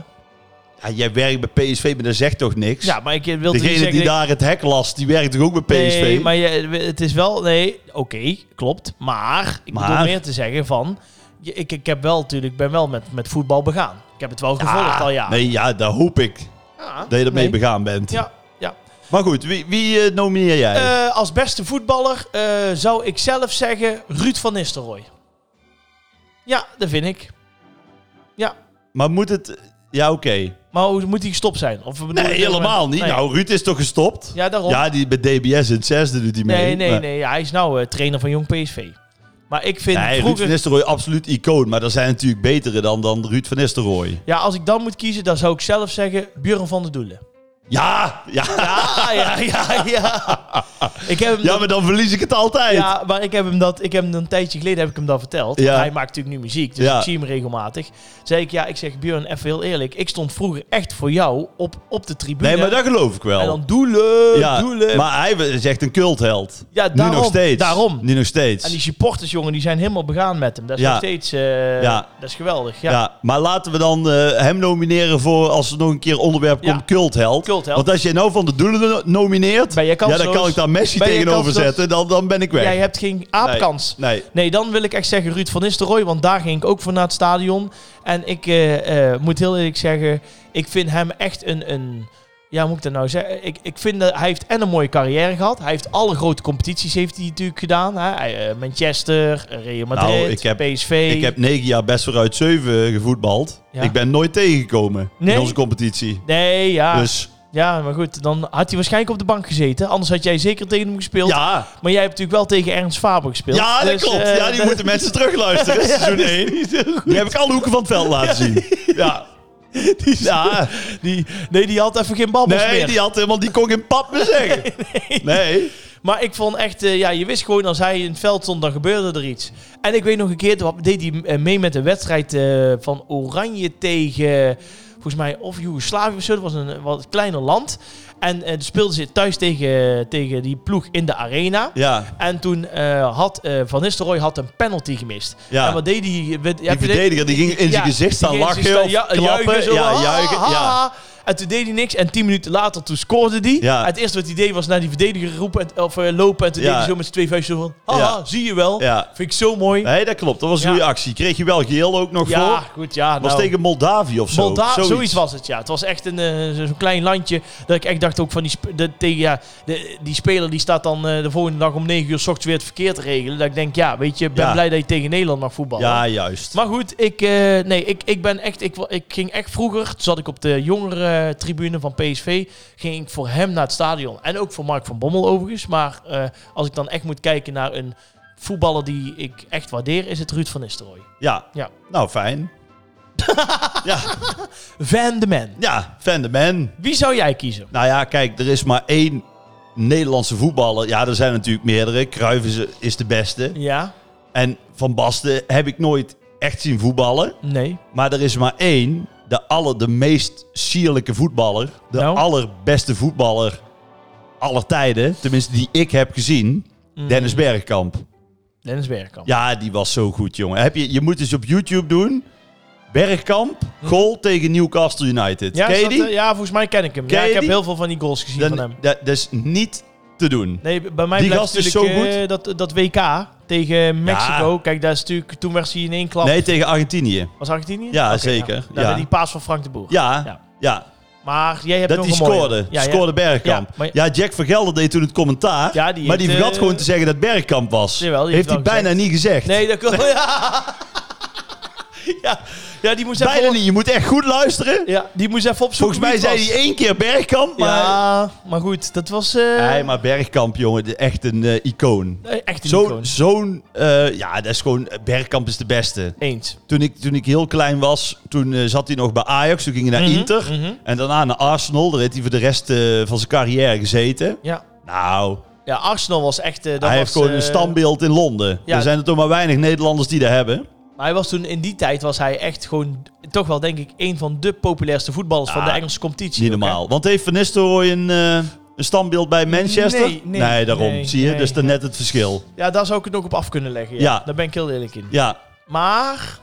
[SPEAKER 2] Ja, jij werkt bij PSV, maar dat zegt toch niks?
[SPEAKER 1] Ja, maar ik wil toch niet
[SPEAKER 2] Degene
[SPEAKER 1] zeggen...
[SPEAKER 2] die
[SPEAKER 1] dat-
[SPEAKER 2] daar het hek last, die werkt toch ook bij PSV?
[SPEAKER 1] Nee, maar je, het is wel... Nee, oké, klopt. Maar ik
[SPEAKER 2] Maar-
[SPEAKER 1] bedoel meer te zeggen van... je- Ik, ik heb wel natuurlijk, ben wel met, met voetbal begaan. Ik heb het wel gevolgd al jaren.
[SPEAKER 2] Nee, ja, daar hoop ik
[SPEAKER 1] Ja,
[SPEAKER 2] dat je ermee
[SPEAKER 1] nee.
[SPEAKER 2] begaan bent.
[SPEAKER 1] Ja, ja.
[SPEAKER 2] Maar goed, wie, wie eh, nomineer jij?
[SPEAKER 1] Eh, als beste voetballer eh, zou ik zelf zeggen Ruud van Nistelrooy. Ja, dat vind ik. Ja,
[SPEAKER 2] maar moet het... Ja, oké.
[SPEAKER 1] maar hoe moet hij gestopt zijn? Of, bedoel-
[SPEAKER 2] Nee, helemaal niet.
[SPEAKER 1] Nee.
[SPEAKER 2] Nou, Ruud is toch gestopt?
[SPEAKER 1] Ja, daarom.
[SPEAKER 2] Ja, die bij DBS in het zesde doet hij mee.
[SPEAKER 1] nee, nee,
[SPEAKER 2] maar-
[SPEAKER 1] nee. Ja, hij is nou eh, trainer van Jong PSV. Maar ik vind
[SPEAKER 2] Nee, Ruud
[SPEAKER 1] vroeger...
[SPEAKER 2] van Nistelrooy, absoluut icoon. Maar er zijn natuurlijk betere dan, dan Ruud van Nistelrooy.
[SPEAKER 1] Ja, als ik dan moet kiezen, dan zou ik zelf zeggen Buren van der Doelen.
[SPEAKER 2] Ja, Ah, ja.
[SPEAKER 1] Ja, ja, ja, ja. Ik heb hem
[SPEAKER 2] ja,
[SPEAKER 1] dat-
[SPEAKER 2] maar dan verlies ik het altijd.
[SPEAKER 1] Ja, maar ik heb hem dat, ik heb hem een tijdje geleden heb ik hem dat verteld.
[SPEAKER 2] Ja.
[SPEAKER 1] Hij maakt natuurlijk nu muziek, dus
[SPEAKER 2] Ja.
[SPEAKER 1] ik zie hem regelmatig. Zei ik, ja, ik zeg Björn, even heel eerlijk, ik stond vroeger echt voor jou op, op de tribune.
[SPEAKER 2] nee, maar dat geloof ik wel.
[SPEAKER 1] En dan doelen,
[SPEAKER 2] ja,
[SPEAKER 1] doelen.
[SPEAKER 2] Maar hij is echt een cultheld.
[SPEAKER 1] ja, daarom,
[SPEAKER 2] nu nog steeds.
[SPEAKER 1] Daarom.
[SPEAKER 2] Nu nog steeds.
[SPEAKER 1] En die supporters, jongen, die zijn helemaal begaan met hem. Dat is
[SPEAKER 2] Ja.
[SPEAKER 1] nog steeds, eh,
[SPEAKER 2] Ja.
[SPEAKER 1] dat is geweldig. Ja.
[SPEAKER 2] ja. maar laten we dan eh, hem nomineren voor als er nog een keer onderwerp
[SPEAKER 1] Ja.
[SPEAKER 2] komt, cultheld.
[SPEAKER 1] Cultheld.
[SPEAKER 2] Want als je nou van de doelen no- nomineert,
[SPEAKER 1] Ben je
[SPEAKER 2] ja,
[SPEAKER 1] kansloos?
[SPEAKER 2] dan kan ik daar Messi
[SPEAKER 1] Ben je
[SPEAKER 2] tegenover
[SPEAKER 1] kansloos?
[SPEAKER 2] zetten. Dan, dan ben ik weg.
[SPEAKER 1] Jij hebt geen aapkans.
[SPEAKER 2] Nee. nee.
[SPEAKER 1] Nee, dan wil ik echt zeggen Ruud van Nistelrooy, want daar ging ik ook voor naar het stadion. En ik eh, eh, moet heel eerlijk zeggen, ik vind hem echt een... een ja, hoe moet ik dat nou zeggen? Ik, ik vind dat hij heeft en een mooie carrière gehad. Hij heeft alle grote competities heeft hij natuurlijk gedaan. Hè? Hij, eh, Manchester, eh, Real Madrid,
[SPEAKER 2] Nou, ik heb-
[SPEAKER 1] PSV.
[SPEAKER 2] Ik heb negen jaar best vooruit zeven gevoetbald.
[SPEAKER 1] Ja.
[SPEAKER 2] Ik ben nooit tegengekomen
[SPEAKER 1] Nee?
[SPEAKER 2] in onze competitie.
[SPEAKER 1] Nee, ja.
[SPEAKER 2] Dus
[SPEAKER 1] Ja, maar goed, dan had hij waarschijnlijk op de bank gezeten. Anders had jij zeker tegen hem gespeeld.
[SPEAKER 2] Ja,
[SPEAKER 1] Maar jij hebt natuurlijk wel tegen Ernst Faber gespeeld.
[SPEAKER 2] ja dat
[SPEAKER 1] Dus,
[SPEAKER 2] klopt.
[SPEAKER 1] eh,
[SPEAKER 2] ja, die moeten mensen terugluisteren. seizoen 1. Die heb ik alle hoeken van het veld laten zien. Ja. Ja,
[SPEAKER 1] die, nee, die had even geen babbels
[SPEAKER 2] nee,
[SPEAKER 1] meer.
[SPEAKER 2] die had helemaal, die kon geen pap meer zeggen. Nee.
[SPEAKER 1] Maar ik vond echt, eh, ja, je wist gewoon als hij in het veld stond, dan gebeurde er iets. En ik weet nog een keer, toen deed hij eh, mee met een wedstrijd eh, van Oranje tegen, volgens mij, of Joegoslavië of zo. Dat was een wat kleiner land. En eh, toen speelden ze thuis tegen, tegen die ploeg in de arena.
[SPEAKER 2] Ja,
[SPEAKER 1] En toen eh, had eh, Van Nistelrooy had een penalty gemist.
[SPEAKER 2] Ja.
[SPEAKER 1] En wat deed hij? Weet-
[SPEAKER 2] die verdediger die ging in zijn
[SPEAKER 1] ja,
[SPEAKER 2] gezicht staan
[SPEAKER 1] die ging in
[SPEAKER 2] lachen
[SPEAKER 1] zijn gezicht
[SPEAKER 2] of
[SPEAKER 1] staan
[SPEAKER 2] klappen.
[SPEAKER 1] Juichen, zo, ah,
[SPEAKER 2] ja,
[SPEAKER 1] ha, ha,
[SPEAKER 2] juichen.
[SPEAKER 1] ha,
[SPEAKER 2] Ja.
[SPEAKER 1] ha. En toen deed hij niks. En tien minuten later, toen scoorde hij.
[SPEAKER 2] Ja.
[SPEAKER 1] Het eerste wat hij deed was naar die verdediger roepen en, of eh, lopen. En toen
[SPEAKER 2] Ja.
[SPEAKER 1] deed hij zo met zijn twee vuisten zo van... Haha,
[SPEAKER 2] Ja.
[SPEAKER 1] zie je wel.
[SPEAKER 2] Ja.
[SPEAKER 1] Vind ik zo mooi.
[SPEAKER 2] Nee, dat klopt. Dat was een
[SPEAKER 1] Ja.
[SPEAKER 2] goede actie. Kreeg je wel geel ook nog
[SPEAKER 1] ja,
[SPEAKER 2] voor?
[SPEAKER 1] goed, ja.
[SPEAKER 2] Was
[SPEAKER 1] nou,
[SPEAKER 2] tegen Moldavië of zo.
[SPEAKER 1] Moldavië, zoiets. was het, ja. Het was echt een, eh, zo- zo'n klein landje dat ik echt dacht ook van die, sp- de, tegen, ja, de- die speler die staat dan eh, de volgende dag om 9 uur s ochtends weer het verkeer te regelen. Dat ik denk, ja, weet je, ik ben
[SPEAKER 2] Ja.
[SPEAKER 1] blij dat je tegen Nederland mag voetballen.
[SPEAKER 2] Ja, juist.
[SPEAKER 1] Maar goed, ik, eh, nee, ik, ik ben echt, ik, wa- ik ging echt vroeger, toen zat ik op de jongere tribune van PSV, ging ik voor hem naar het stadion. En ook voor Mark van Bommel overigens. Maar eh, als ik dan echt moet kijken naar een voetballer die ik echt waardeer, is het Ruud van Nistelrooy.
[SPEAKER 2] Ja.
[SPEAKER 1] Ja.
[SPEAKER 2] Nou, fijn. ja,
[SPEAKER 1] Van de man.
[SPEAKER 2] ja, fan de man.
[SPEAKER 1] Wie zou jij kiezen?
[SPEAKER 2] Nou ja, kijk, er is maar één Nederlandse voetballer. Ja, er zijn natuurlijk meerdere. Cruijff is, is de beste.
[SPEAKER 1] Ja?
[SPEAKER 2] En Van Basten heb ik nooit echt zien voetballen.
[SPEAKER 1] Nee?
[SPEAKER 2] Maar er is maar één, de, aller, de meest sierlijke voetballer. De
[SPEAKER 1] Nou?
[SPEAKER 2] allerbeste voetballer aller tijden. Tenminste, die ik heb gezien.
[SPEAKER 1] Mm.
[SPEAKER 2] Dennis Bergkamp.
[SPEAKER 1] Dennis Bergkamp.
[SPEAKER 2] Ja, die was zo goed, jongen. Heb je, je moet eens op YouTube doen. Bergkamp, goal tegen Newcastle United.
[SPEAKER 1] Hm. Ja,
[SPEAKER 2] Ken
[SPEAKER 1] is
[SPEAKER 2] je
[SPEAKER 1] dat,
[SPEAKER 2] die?
[SPEAKER 1] eh, ja, volgens mij ken ik hem.
[SPEAKER 2] Ken
[SPEAKER 1] ja,
[SPEAKER 2] je
[SPEAKER 1] ik heb
[SPEAKER 2] die?
[SPEAKER 1] heel veel van die goals gezien
[SPEAKER 2] Dan-
[SPEAKER 1] van hem.
[SPEAKER 2] dat, dat is niet te doen.
[SPEAKER 1] Nee, bij mij
[SPEAKER 2] Die
[SPEAKER 1] blijft
[SPEAKER 2] gast is
[SPEAKER 1] natuurlijk,
[SPEAKER 2] zo
[SPEAKER 1] eh, dat, dat WK tegen Mexico.
[SPEAKER 2] Ja.
[SPEAKER 1] Kijk, daar is natuurlijk, toen werd hij in één klap.
[SPEAKER 2] Nee, tegen Argentinië.
[SPEAKER 1] Was Argentinië?
[SPEAKER 2] Ja,
[SPEAKER 1] Oké,
[SPEAKER 2] zeker.
[SPEAKER 1] nou,
[SPEAKER 2] Ja.
[SPEAKER 1] met Die paas van Frank de Boer.
[SPEAKER 2] Ja,
[SPEAKER 1] Ja.
[SPEAKER 2] ja.
[SPEAKER 1] Maar jij hebt
[SPEAKER 2] Dat
[SPEAKER 1] nog
[SPEAKER 2] die
[SPEAKER 1] een mooie.
[SPEAKER 2] scoorde.
[SPEAKER 1] Ja, ja.
[SPEAKER 2] scoorde Bergkamp.
[SPEAKER 1] Ja,
[SPEAKER 2] Ja,
[SPEAKER 1] maar-
[SPEAKER 2] Jack van Gelder deed toen het commentaar.
[SPEAKER 1] Ja, die
[SPEAKER 2] maar die
[SPEAKER 1] heeft,
[SPEAKER 2] vergat
[SPEAKER 1] eh,
[SPEAKER 2] gewoon te zeggen dat Bergkamp was.
[SPEAKER 1] Jawel, die
[SPEAKER 2] heeft hij
[SPEAKER 1] heeft wel
[SPEAKER 2] bijna niet gezegd.
[SPEAKER 1] Nee, dat klopt. Ja. ja. ja, die moest even...
[SPEAKER 2] bijna
[SPEAKER 1] op-
[SPEAKER 2] niet. Je moet echt goed luisteren.
[SPEAKER 1] Ja, die moest even opzoeken
[SPEAKER 2] Volgens mij
[SPEAKER 1] wie het
[SPEAKER 2] zei hij één keer Bergkamp,
[SPEAKER 1] was.
[SPEAKER 2] maar...
[SPEAKER 1] Ja, maar goed, dat was... eh,
[SPEAKER 2] Nee, maar Bergkamp, jongen, de- echt een eh, icoon.
[SPEAKER 1] eh, Echt een
[SPEAKER 2] Zo-
[SPEAKER 1] icoon.
[SPEAKER 2] Zo'n, eh, ja, dat is gewoon, Bergkamp is de beste.
[SPEAKER 1] Eens.
[SPEAKER 2] Toen ik, toen ik heel klein was, toen eh, zat hij nog bij Ajax, toen ging hij naar
[SPEAKER 1] Mhm,
[SPEAKER 2] Inter.
[SPEAKER 1] mhm.
[SPEAKER 2] En daarna naar Arsenal, daar heeft hij voor de rest eh, van zijn carrière gezeten.
[SPEAKER 1] Ja.
[SPEAKER 2] Nou,
[SPEAKER 1] ja, Arsenal was echt... eh, dat
[SPEAKER 2] hij
[SPEAKER 1] was,
[SPEAKER 2] heeft gewoon
[SPEAKER 1] eh,
[SPEAKER 2] een standbeeld in Londen.
[SPEAKER 1] ja.
[SPEAKER 2] er zijn er toch maar weinig Nederlanders die dat hebben.
[SPEAKER 1] Maar hij was toen, in die tijd was hij echt gewoon... Toch wel, denk ik, een van de populairste voetballers van
[SPEAKER 2] Ja,
[SPEAKER 1] de Engelse competitie.
[SPEAKER 2] Niet
[SPEAKER 1] ook, hè?
[SPEAKER 2] normaal. Want heeft Van Nistelrooy een, eh, een standbeeld bij Manchester?
[SPEAKER 1] Nee, nee,
[SPEAKER 2] daarom.
[SPEAKER 1] nee,
[SPEAKER 2] Zie je,
[SPEAKER 1] nee,
[SPEAKER 2] dus dan
[SPEAKER 1] nee.
[SPEAKER 2] net het verschil.
[SPEAKER 1] Ja, daar zou ik het nog op af kunnen leggen. Ja.
[SPEAKER 2] Ja.
[SPEAKER 1] Daar ben ik heel eerlijk in.
[SPEAKER 2] Ja.
[SPEAKER 1] Maar...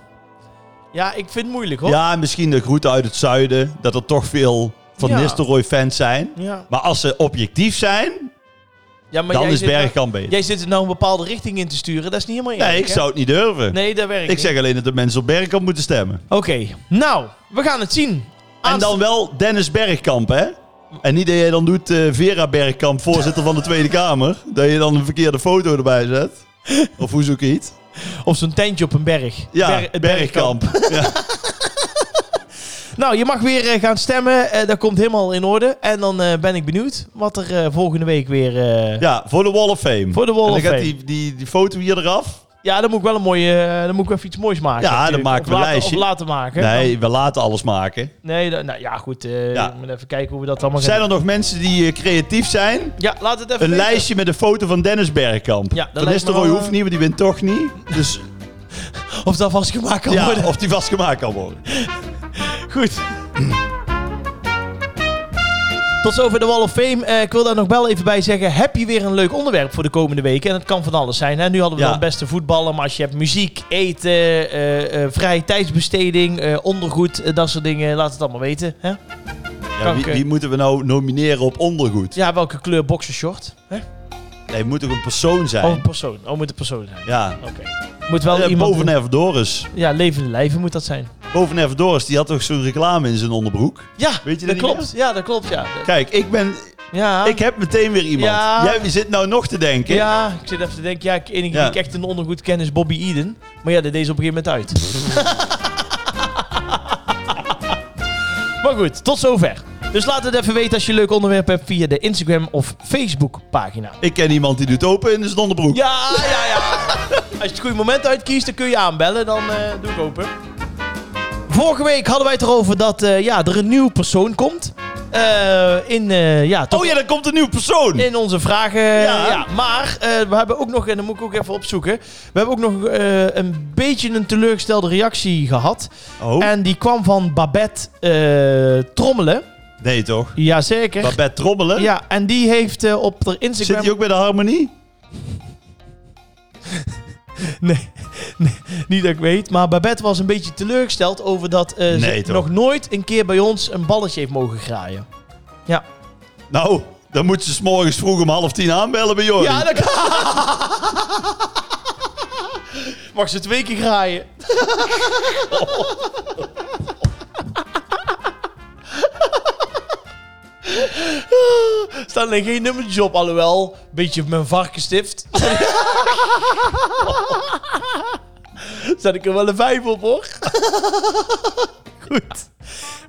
[SPEAKER 1] Ja, ik vind het moeilijk, hoor.
[SPEAKER 2] ja, en misschien de groeten uit het zuiden, dat er toch veel Van
[SPEAKER 1] Ja.
[SPEAKER 2] Nistelrooy-fans zijn.
[SPEAKER 1] Ja.
[SPEAKER 2] Maar als ze objectief zijn,
[SPEAKER 1] Ja, maar
[SPEAKER 2] dan
[SPEAKER 1] jij
[SPEAKER 2] is
[SPEAKER 1] zit nou-
[SPEAKER 2] Bergkamp beter.
[SPEAKER 1] Jij zit het nou een bepaalde richting in te sturen. Dat is niet helemaal eerlijk.
[SPEAKER 2] Nee, ik
[SPEAKER 1] hè?
[SPEAKER 2] zou het niet durven.
[SPEAKER 1] Nee, dat werkt
[SPEAKER 2] Ik zeg alleen dat de mensen op Bergkamp moeten stemmen.
[SPEAKER 1] Oké, nou, we gaan het zien.
[SPEAKER 2] En dan wel Dennis Bergkamp, hè? En niet dat je dan doet eh, Vera Bergkamp, voorzitter van de Tweede Kamer. Dat je dan een verkeerde foto erbij zet. Of hoe zoek je iets?
[SPEAKER 1] Op zo'n tentje op een berg.
[SPEAKER 2] Ja,
[SPEAKER 1] Ber- het
[SPEAKER 2] Bergkamp. Ja.
[SPEAKER 1] Nou, je mag weer eh, gaan stemmen. Eh, dat komt helemaal in orde. En dan eh, ben ik benieuwd wat er eh, volgende week weer... eh, ja.
[SPEAKER 2] ja, voor de Wall of Fame.
[SPEAKER 1] Voor de Wall
[SPEAKER 2] en dan
[SPEAKER 1] of
[SPEAKER 2] gaat
[SPEAKER 1] Fame.
[SPEAKER 2] Die, die, die foto hier eraf.
[SPEAKER 1] dan moet ik wel een mooie... eh, dan moet ik even iets moois maken.
[SPEAKER 2] Ja, dan
[SPEAKER 1] natuurlijk.
[SPEAKER 2] maken we
[SPEAKER 1] Of
[SPEAKER 2] een
[SPEAKER 1] laten-
[SPEAKER 2] lijstje.
[SPEAKER 1] Of laten maken. Dan-
[SPEAKER 2] Nee, we laten alles maken.
[SPEAKER 1] nee, dan- nou ja, goed. eh
[SPEAKER 2] Ja.
[SPEAKER 1] ik moet even kijken hoe we dat allemaal
[SPEAKER 2] Zijn
[SPEAKER 1] gaan
[SPEAKER 2] er nog mensen die eh, creatief zijn?
[SPEAKER 1] doen. Ja, laat het even
[SPEAKER 2] Een
[SPEAKER 1] weten.
[SPEAKER 2] lijstje met een foto van Dennis Bergkamp.
[SPEAKER 1] Ja, dat
[SPEAKER 2] dan
[SPEAKER 1] lijkt
[SPEAKER 2] is
[SPEAKER 1] me
[SPEAKER 2] de Roy
[SPEAKER 1] wel,
[SPEAKER 2] hoeft
[SPEAKER 1] eh,
[SPEAKER 2] niet, want die wint toch niet. Dus
[SPEAKER 1] Of dat vastgemaakt kan worden.
[SPEAKER 2] ja, of die vastgemaakt kan worden.
[SPEAKER 1] Goed. Tot zover de Wall of Fame. Eh, ik wil daar nog wel even bij zeggen. Heb je weer een leuk onderwerp voor de komende weken? En het kan van alles zijn. Hè? Nu hadden we
[SPEAKER 2] Ja.
[SPEAKER 1] dan beste voetballen. Maar als je hebt muziek, eten, eh, eh, vrije tijdsbesteding, eh, ondergoed, eh, dat soort dingen. Laat het allemaal weten. Hè?
[SPEAKER 2] Ja, wie,
[SPEAKER 1] Oké.
[SPEAKER 2] wie moeten we nou nomineren op ondergoed?
[SPEAKER 1] Ja, welke kleur boxershort? Hè?
[SPEAKER 2] Nee, het moet toch een persoon zijn?
[SPEAKER 1] Oh, een persoon. Oh, moet een persoon zijn.
[SPEAKER 2] Ja.
[SPEAKER 1] Oké. Moet wel
[SPEAKER 2] Eh,
[SPEAKER 1] iemand...
[SPEAKER 2] Boven Nervadoris.
[SPEAKER 1] Ja, levende lijven moet dat zijn.
[SPEAKER 2] Boven Nervadoris, die had toch zo'n reclame in zijn onderbroek?
[SPEAKER 1] Ja,
[SPEAKER 2] Weet je
[SPEAKER 1] dat
[SPEAKER 2] dat niet
[SPEAKER 1] klopt. Ja, dat klopt. Ja,
[SPEAKER 2] Kijk, ik ben...
[SPEAKER 1] ja.
[SPEAKER 2] Ik heb meteen weer iemand.
[SPEAKER 1] Ja.
[SPEAKER 2] Jij zit nou nog te denken.
[SPEAKER 1] Ja, ik zit even te denken, ja, ik- enige
[SPEAKER 2] Ja.
[SPEAKER 1] die ik echt een ondergoed ken is Bobby Eden. Maar ja, dat deed ze op een gegeven moment uit. maar goed, tot zover. Dus laat het even weten als je een leuk onderwerp hebt via de Instagram of Facebook pagina.
[SPEAKER 2] Ik ken iemand die doet open in zijn onderbroek.
[SPEAKER 1] Ja, ja, ja. Als je het goede moment uitkiest, dan kun je aanbellen. Dan eh, doe ik open. Vorige week hadden wij het erover dat eh, ja, er een nieuw persoon komt. Eh, in, eh, ja, toch
[SPEAKER 2] Oh ja, daar komt een nieuwe persoon.
[SPEAKER 1] in onze vragen.
[SPEAKER 2] Ja.
[SPEAKER 1] ja, maar eh, we hebben ook nog, en dan moet ik ook even opzoeken. We hebben ook nog eh, een beetje een teleurgestelde reactie gehad.
[SPEAKER 2] Oh,
[SPEAKER 1] En die kwam van Babette eh, Trommelen.
[SPEAKER 2] nee toch?
[SPEAKER 1] Jazeker.
[SPEAKER 2] Babette Trommelen.
[SPEAKER 1] Ja, en die heeft eh, op haar Instagram...
[SPEAKER 2] Zit hij ook bij de harmonie?
[SPEAKER 1] Nee, nee, niet dat ik weet. Maar Babette was een beetje teleurgesteld over dat eh,
[SPEAKER 2] Nee,
[SPEAKER 1] ze
[SPEAKER 2] toch?
[SPEAKER 1] nog nooit een keer bij ons een balletje heeft mogen graaien. Ja.
[SPEAKER 2] Nou, dan moet ze 's morgens vroeg om half tien aanbellen bij Jordi.
[SPEAKER 1] Ja, dat kan. Mag ze twee keer graaien? Staan alleen geen nummertjes op, alhoewel. Beetje mijn varkenstift. Zet ik er wel een vijf op, hoor. Goed.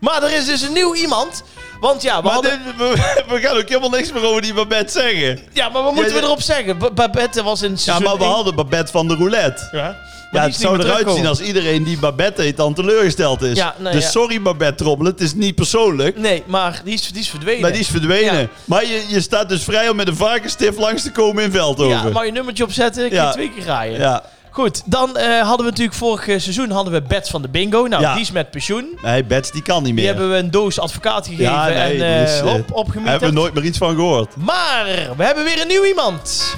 [SPEAKER 1] Maar er is dus een nieuw iemand. Want ja, we
[SPEAKER 2] maar
[SPEAKER 1] hadden...
[SPEAKER 2] dit- we, we gaan ook helemaal niks meer over die Babette zeggen.
[SPEAKER 1] Ja, maar wat moeten
[SPEAKER 2] Ja,
[SPEAKER 1] we
[SPEAKER 2] ja.
[SPEAKER 1] erop zeggen? B- Babette was in
[SPEAKER 2] Ja,
[SPEAKER 1] seizoen
[SPEAKER 2] maar we
[SPEAKER 1] één-
[SPEAKER 2] hadden Babette van de roulette.
[SPEAKER 1] Ja, maar die
[SPEAKER 2] Ja, het
[SPEAKER 1] is
[SPEAKER 2] zou
[SPEAKER 1] niet meer
[SPEAKER 2] eruit zien
[SPEAKER 1] teruggekomen.
[SPEAKER 2] als iedereen die Babette heet dan teleurgesteld is.
[SPEAKER 1] Ja, nee,
[SPEAKER 2] dus
[SPEAKER 1] ja.
[SPEAKER 2] sorry Babette Trommelen, het is niet persoonlijk.
[SPEAKER 1] Nee, maar die is, die is verdwenen.
[SPEAKER 2] Maar die is verdwenen.
[SPEAKER 1] Ja.
[SPEAKER 2] Maar je, je staat dus vrij om met een varkenstift langs te komen in Veldhoven.
[SPEAKER 1] Ja, mag je nummertje opzetten? Ik
[SPEAKER 2] Ja.
[SPEAKER 1] je twee keer raaien.
[SPEAKER 2] Ja.
[SPEAKER 1] Goed, dan eh, hadden we natuurlijk vorig eh, seizoen hadden we Bets van de Bingo. Nou,
[SPEAKER 2] Ja.
[SPEAKER 1] die is met pensioen.
[SPEAKER 2] Nee, Bets die kan niet meer.
[SPEAKER 1] Die hebben we een doos advocaat gegeven
[SPEAKER 2] ja, nee,
[SPEAKER 1] en
[SPEAKER 2] die
[SPEAKER 1] eh,
[SPEAKER 2] is, eh,
[SPEAKER 1] hop,
[SPEAKER 2] Daar hebben
[SPEAKER 1] opgemieterd.
[SPEAKER 2] we nooit meer iets van gehoord.
[SPEAKER 1] Maar we hebben weer een nieuw iemand.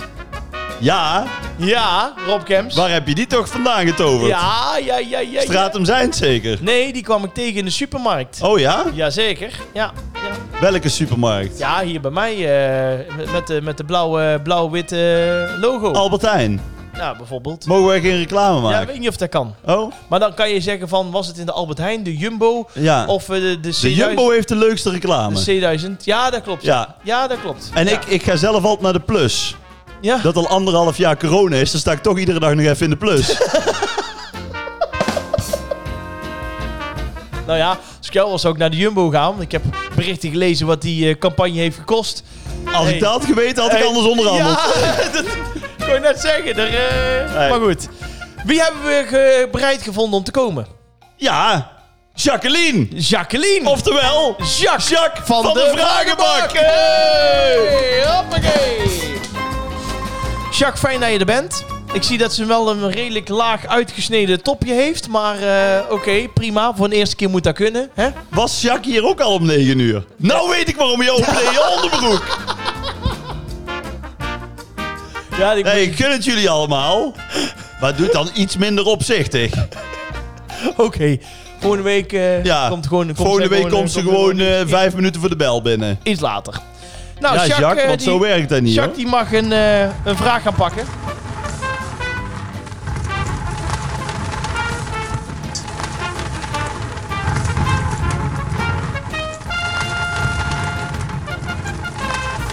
[SPEAKER 2] Ja,
[SPEAKER 1] Ja, Rob Kemps.
[SPEAKER 2] waar heb je die toch vandaan getoverd?
[SPEAKER 1] Ja, ja, ja, ja. ja.
[SPEAKER 2] Straat om zijn zeker.
[SPEAKER 1] Nee, die kwam ik tegen in de supermarkt.
[SPEAKER 2] Oh ja?
[SPEAKER 1] Jazeker, ja. ja.
[SPEAKER 2] Welke supermarkt?
[SPEAKER 1] Ja, hier bij mij eh, met- met, de, met de blauwe, blauw-witte logo.
[SPEAKER 2] Albert Heijn.
[SPEAKER 1] Nou, bijvoorbeeld.
[SPEAKER 2] Mogen wij geen reclame
[SPEAKER 1] Ja, ik
[SPEAKER 2] maken?
[SPEAKER 1] weet niet of dat kan.
[SPEAKER 2] Oh?
[SPEAKER 1] Maar dan kan je zeggen van, was het in de Albert Heijn, de Jumbo
[SPEAKER 2] Ja.
[SPEAKER 1] of eh, de, de C1000?
[SPEAKER 2] De Jumbo heeft de leukste reclame.
[SPEAKER 1] De C1000. Ja, dat klopt. Ja,
[SPEAKER 2] Ja.
[SPEAKER 1] dat klopt.
[SPEAKER 2] En
[SPEAKER 1] ja.
[SPEAKER 2] ik, ik ga zelf altijd naar de plus.
[SPEAKER 1] Ja.
[SPEAKER 2] Dat al anderhalf jaar corona is, dan sta ik toch iedere dag nog even in de plus.
[SPEAKER 1] Nou ja, als ik jou was zou ik naar de Jumbo gaan. want Ik heb berichten gelezen wat die eh, campagne heeft gekost.
[SPEAKER 2] Als
[SPEAKER 1] Hey.
[SPEAKER 2] ik dat had geweten, had ik
[SPEAKER 1] Hey.
[SPEAKER 2] anders onderhandeld.
[SPEAKER 1] Ja, dat kon je net zeggen. Daar, eh,
[SPEAKER 2] Hey.
[SPEAKER 1] Maar goed. Wie hebben we ge- bereid gevonden om te komen?
[SPEAKER 2] Ja, Jacqueline.
[SPEAKER 1] Jacqueline!
[SPEAKER 2] Oftewel,
[SPEAKER 1] Jacques,
[SPEAKER 2] Jacques van, de, Vragenbak.
[SPEAKER 1] Hey, hoppakee. Jacques, fijn dat je er bent. Ik zie dat ze wel een redelijk laag uitgesneden topje heeft. Maar eh, oké, prima. Voor een eerste keer moet dat kunnen. Hè?
[SPEAKER 2] Was Jacques hier ook al om 9 uur? Nou weet ik waarom je open in je onderbroek.
[SPEAKER 1] Ja, ik
[SPEAKER 2] Nee, ik gun het jullie allemaal. Maar doe het dan iets minder opzichtig.
[SPEAKER 1] oké. Volgende week eh,
[SPEAKER 2] Ja,
[SPEAKER 1] komt gewoon... komt
[SPEAKER 2] volgende
[SPEAKER 1] zij
[SPEAKER 2] week komt ze
[SPEAKER 1] eh,
[SPEAKER 2] gewoon eh, vijf minuten voor de bel binnen.
[SPEAKER 1] iets later. Nou,
[SPEAKER 2] ja,
[SPEAKER 1] Jacques,
[SPEAKER 2] Jacques,
[SPEAKER 1] eh,
[SPEAKER 2] want
[SPEAKER 1] die,
[SPEAKER 2] zo werkt dat niet,
[SPEAKER 1] Jacques
[SPEAKER 2] hoor.
[SPEAKER 1] die mag een, eh, een vraag gaan pakken.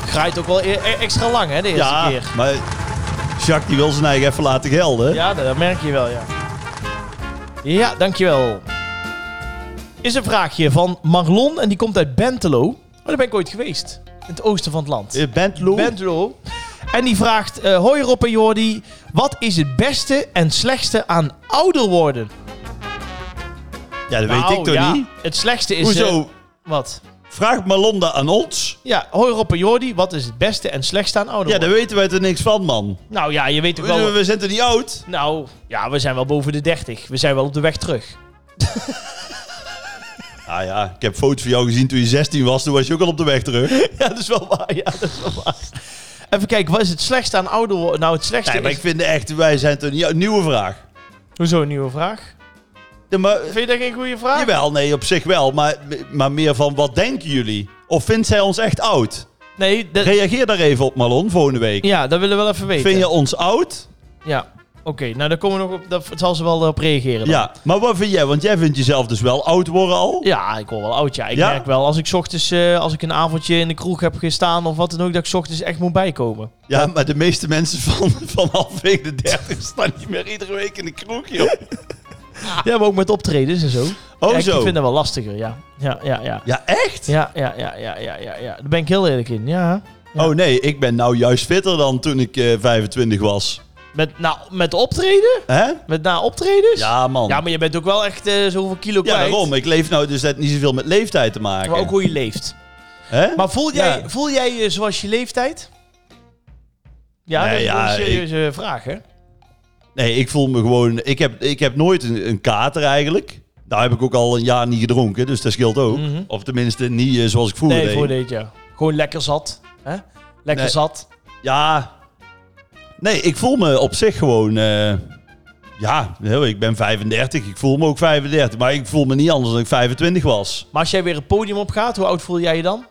[SPEAKER 1] Graait ook wel e- e- extra lang, hè, de eerste
[SPEAKER 2] Ja,
[SPEAKER 1] keer.
[SPEAKER 2] maar Jacques die wil zijn eigen even laten gelden.
[SPEAKER 1] Ja, dat dat merk je wel, ja. Ja, dankjewel. Is een vraagje van Marlon en die komt uit Bentelo. Maar daar ben ik ooit geweest. In het oosten van het land.
[SPEAKER 2] Eh, Bent Lou?
[SPEAKER 1] Bentelo. En die vraagt, eh, hoi Rob en Jordi, wat is het beste en slechtste aan ouder worden?
[SPEAKER 2] Ja, dat weet
[SPEAKER 1] Nou,
[SPEAKER 2] ik toch
[SPEAKER 1] ja,
[SPEAKER 2] niet?
[SPEAKER 1] Het slechtste is... eh,
[SPEAKER 2] Hoezo?
[SPEAKER 1] wat?
[SPEAKER 2] Vraag Malonda aan ons.
[SPEAKER 1] Ja, hoi Rob en Jordi, wat is het beste en slechtste aan ouder
[SPEAKER 2] Ja, daar
[SPEAKER 1] worden?
[SPEAKER 2] weten wij toch niks van, man.
[SPEAKER 1] Nou ja, je weet ook
[SPEAKER 2] We,
[SPEAKER 1] wel...
[SPEAKER 2] we zijn toch niet oud?
[SPEAKER 1] Nou, ja, we zijn wel boven de 30. We zijn wel op de weg terug.
[SPEAKER 2] Ah ja, ik heb foto's van jou gezien toen je 16 was. Toen was je ook al op de weg terug.
[SPEAKER 1] Ja, dat is wel
[SPEAKER 2] Ah,
[SPEAKER 1] waar. Ja, dat is wel waar. Even kijken, wat is het slechtste aan ouder worden? Nou, het slechtste
[SPEAKER 2] Nee, maar
[SPEAKER 1] is...
[SPEAKER 2] ik vind echt, wij zijn toch niet... Ja, nieuwe vraag.
[SPEAKER 1] Hoezo, een nieuwe vraag?
[SPEAKER 2] Ja, maar,
[SPEAKER 1] Vind je dat geen goede vraag?
[SPEAKER 2] jawel, nee, op zich wel. Maar, maar meer van, wat denken jullie? Of vindt zij ons echt oud?
[SPEAKER 1] Nee, dat...
[SPEAKER 2] Reageer daar even op, Malon, volgende week.
[SPEAKER 1] ja, dat willen we wel even weten.
[SPEAKER 2] Vind je ons oud?
[SPEAKER 1] Ja, oké. nou, daar komen we nog op. Daar zal ze wel op reageren. dan.
[SPEAKER 2] Ja. Maar wat vind jij? Want jij vindt jezelf dus wel oud worden al.
[SPEAKER 1] Ja, ik word wel oud, ja. Ik
[SPEAKER 2] Ja?
[SPEAKER 1] merk wel, als ik 's ochtends, eh, als ik een avondje in de kroeg heb gestaan of wat dan ook, dat ik 's ochtends echt moet bijkomen.
[SPEAKER 2] Ja, maar de meeste mensen van, van halfweg de dertig staan niet meer iedere week in de kroeg, joh.
[SPEAKER 1] Ja, maar ook met optredens en zo.
[SPEAKER 2] Ah. Oh,
[SPEAKER 1] Ja, ik
[SPEAKER 2] zo.
[SPEAKER 1] vind dat wel lastiger, ja. Ja, ja, ja.
[SPEAKER 2] Ja, echt?
[SPEAKER 1] Ja, ja, ja, ja, ja, ja, ja. Daar ben ik heel eerlijk in, ja. Ja.
[SPEAKER 2] Oh nee, ik ben nou juist fitter dan toen ik eh, 25 was.
[SPEAKER 1] Met, nou, met optreden?
[SPEAKER 2] Hè?
[SPEAKER 1] Met na optredens?
[SPEAKER 2] Ja, man.
[SPEAKER 1] Ja, maar je bent ook wel echt eh, zoveel kilo
[SPEAKER 2] Ja,
[SPEAKER 1] kwijt.
[SPEAKER 2] daarom. Ik leef nou dus net niet zoveel met leeftijd te maken.
[SPEAKER 1] Maar ook hoe je leeft.
[SPEAKER 2] Hè?
[SPEAKER 1] Maar voel jij,
[SPEAKER 2] Ja.
[SPEAKER 1] voel jij je zoals je leeftijd? Ja,
[SPEAKER 2] Nee,
[SPEAKER 1] dat is wel
[SPEAKER 2] ja,
[SPEAKER 1] een serieuze vraag, hè?
[SPEAKER 2] Nee, ik voel me gewoon... Ik heb, ik heb nooit een, een kater eigenlijk. Nou heb ik ook al een jaar niet gedronken, dus dat scheelt ook.
[SPEAKER 1] Mhm.
[SPEAKER 2] Of tenminste niet eh, zoals ik vroeger
[SPEAKER 1] Nee,
[SPEAKER 2] deed.
[SPEAKER 1] voor dit, ja. Gewoon lekker zat. Hè? Lekker
[SPEAKER 2] Nee.
[SPEAKER 1] zat.
[SPEAKER 2] Ja. Nee, ik voel me op zich gewoon... eh, ja, heel, ik ben 35. Ik voel me ook 35. Maar ik voel me niet anders dan ik 25 was.
[SPEAKER 1] Maar als jij weer het podium op gaat, hoe oud voel jij je dan?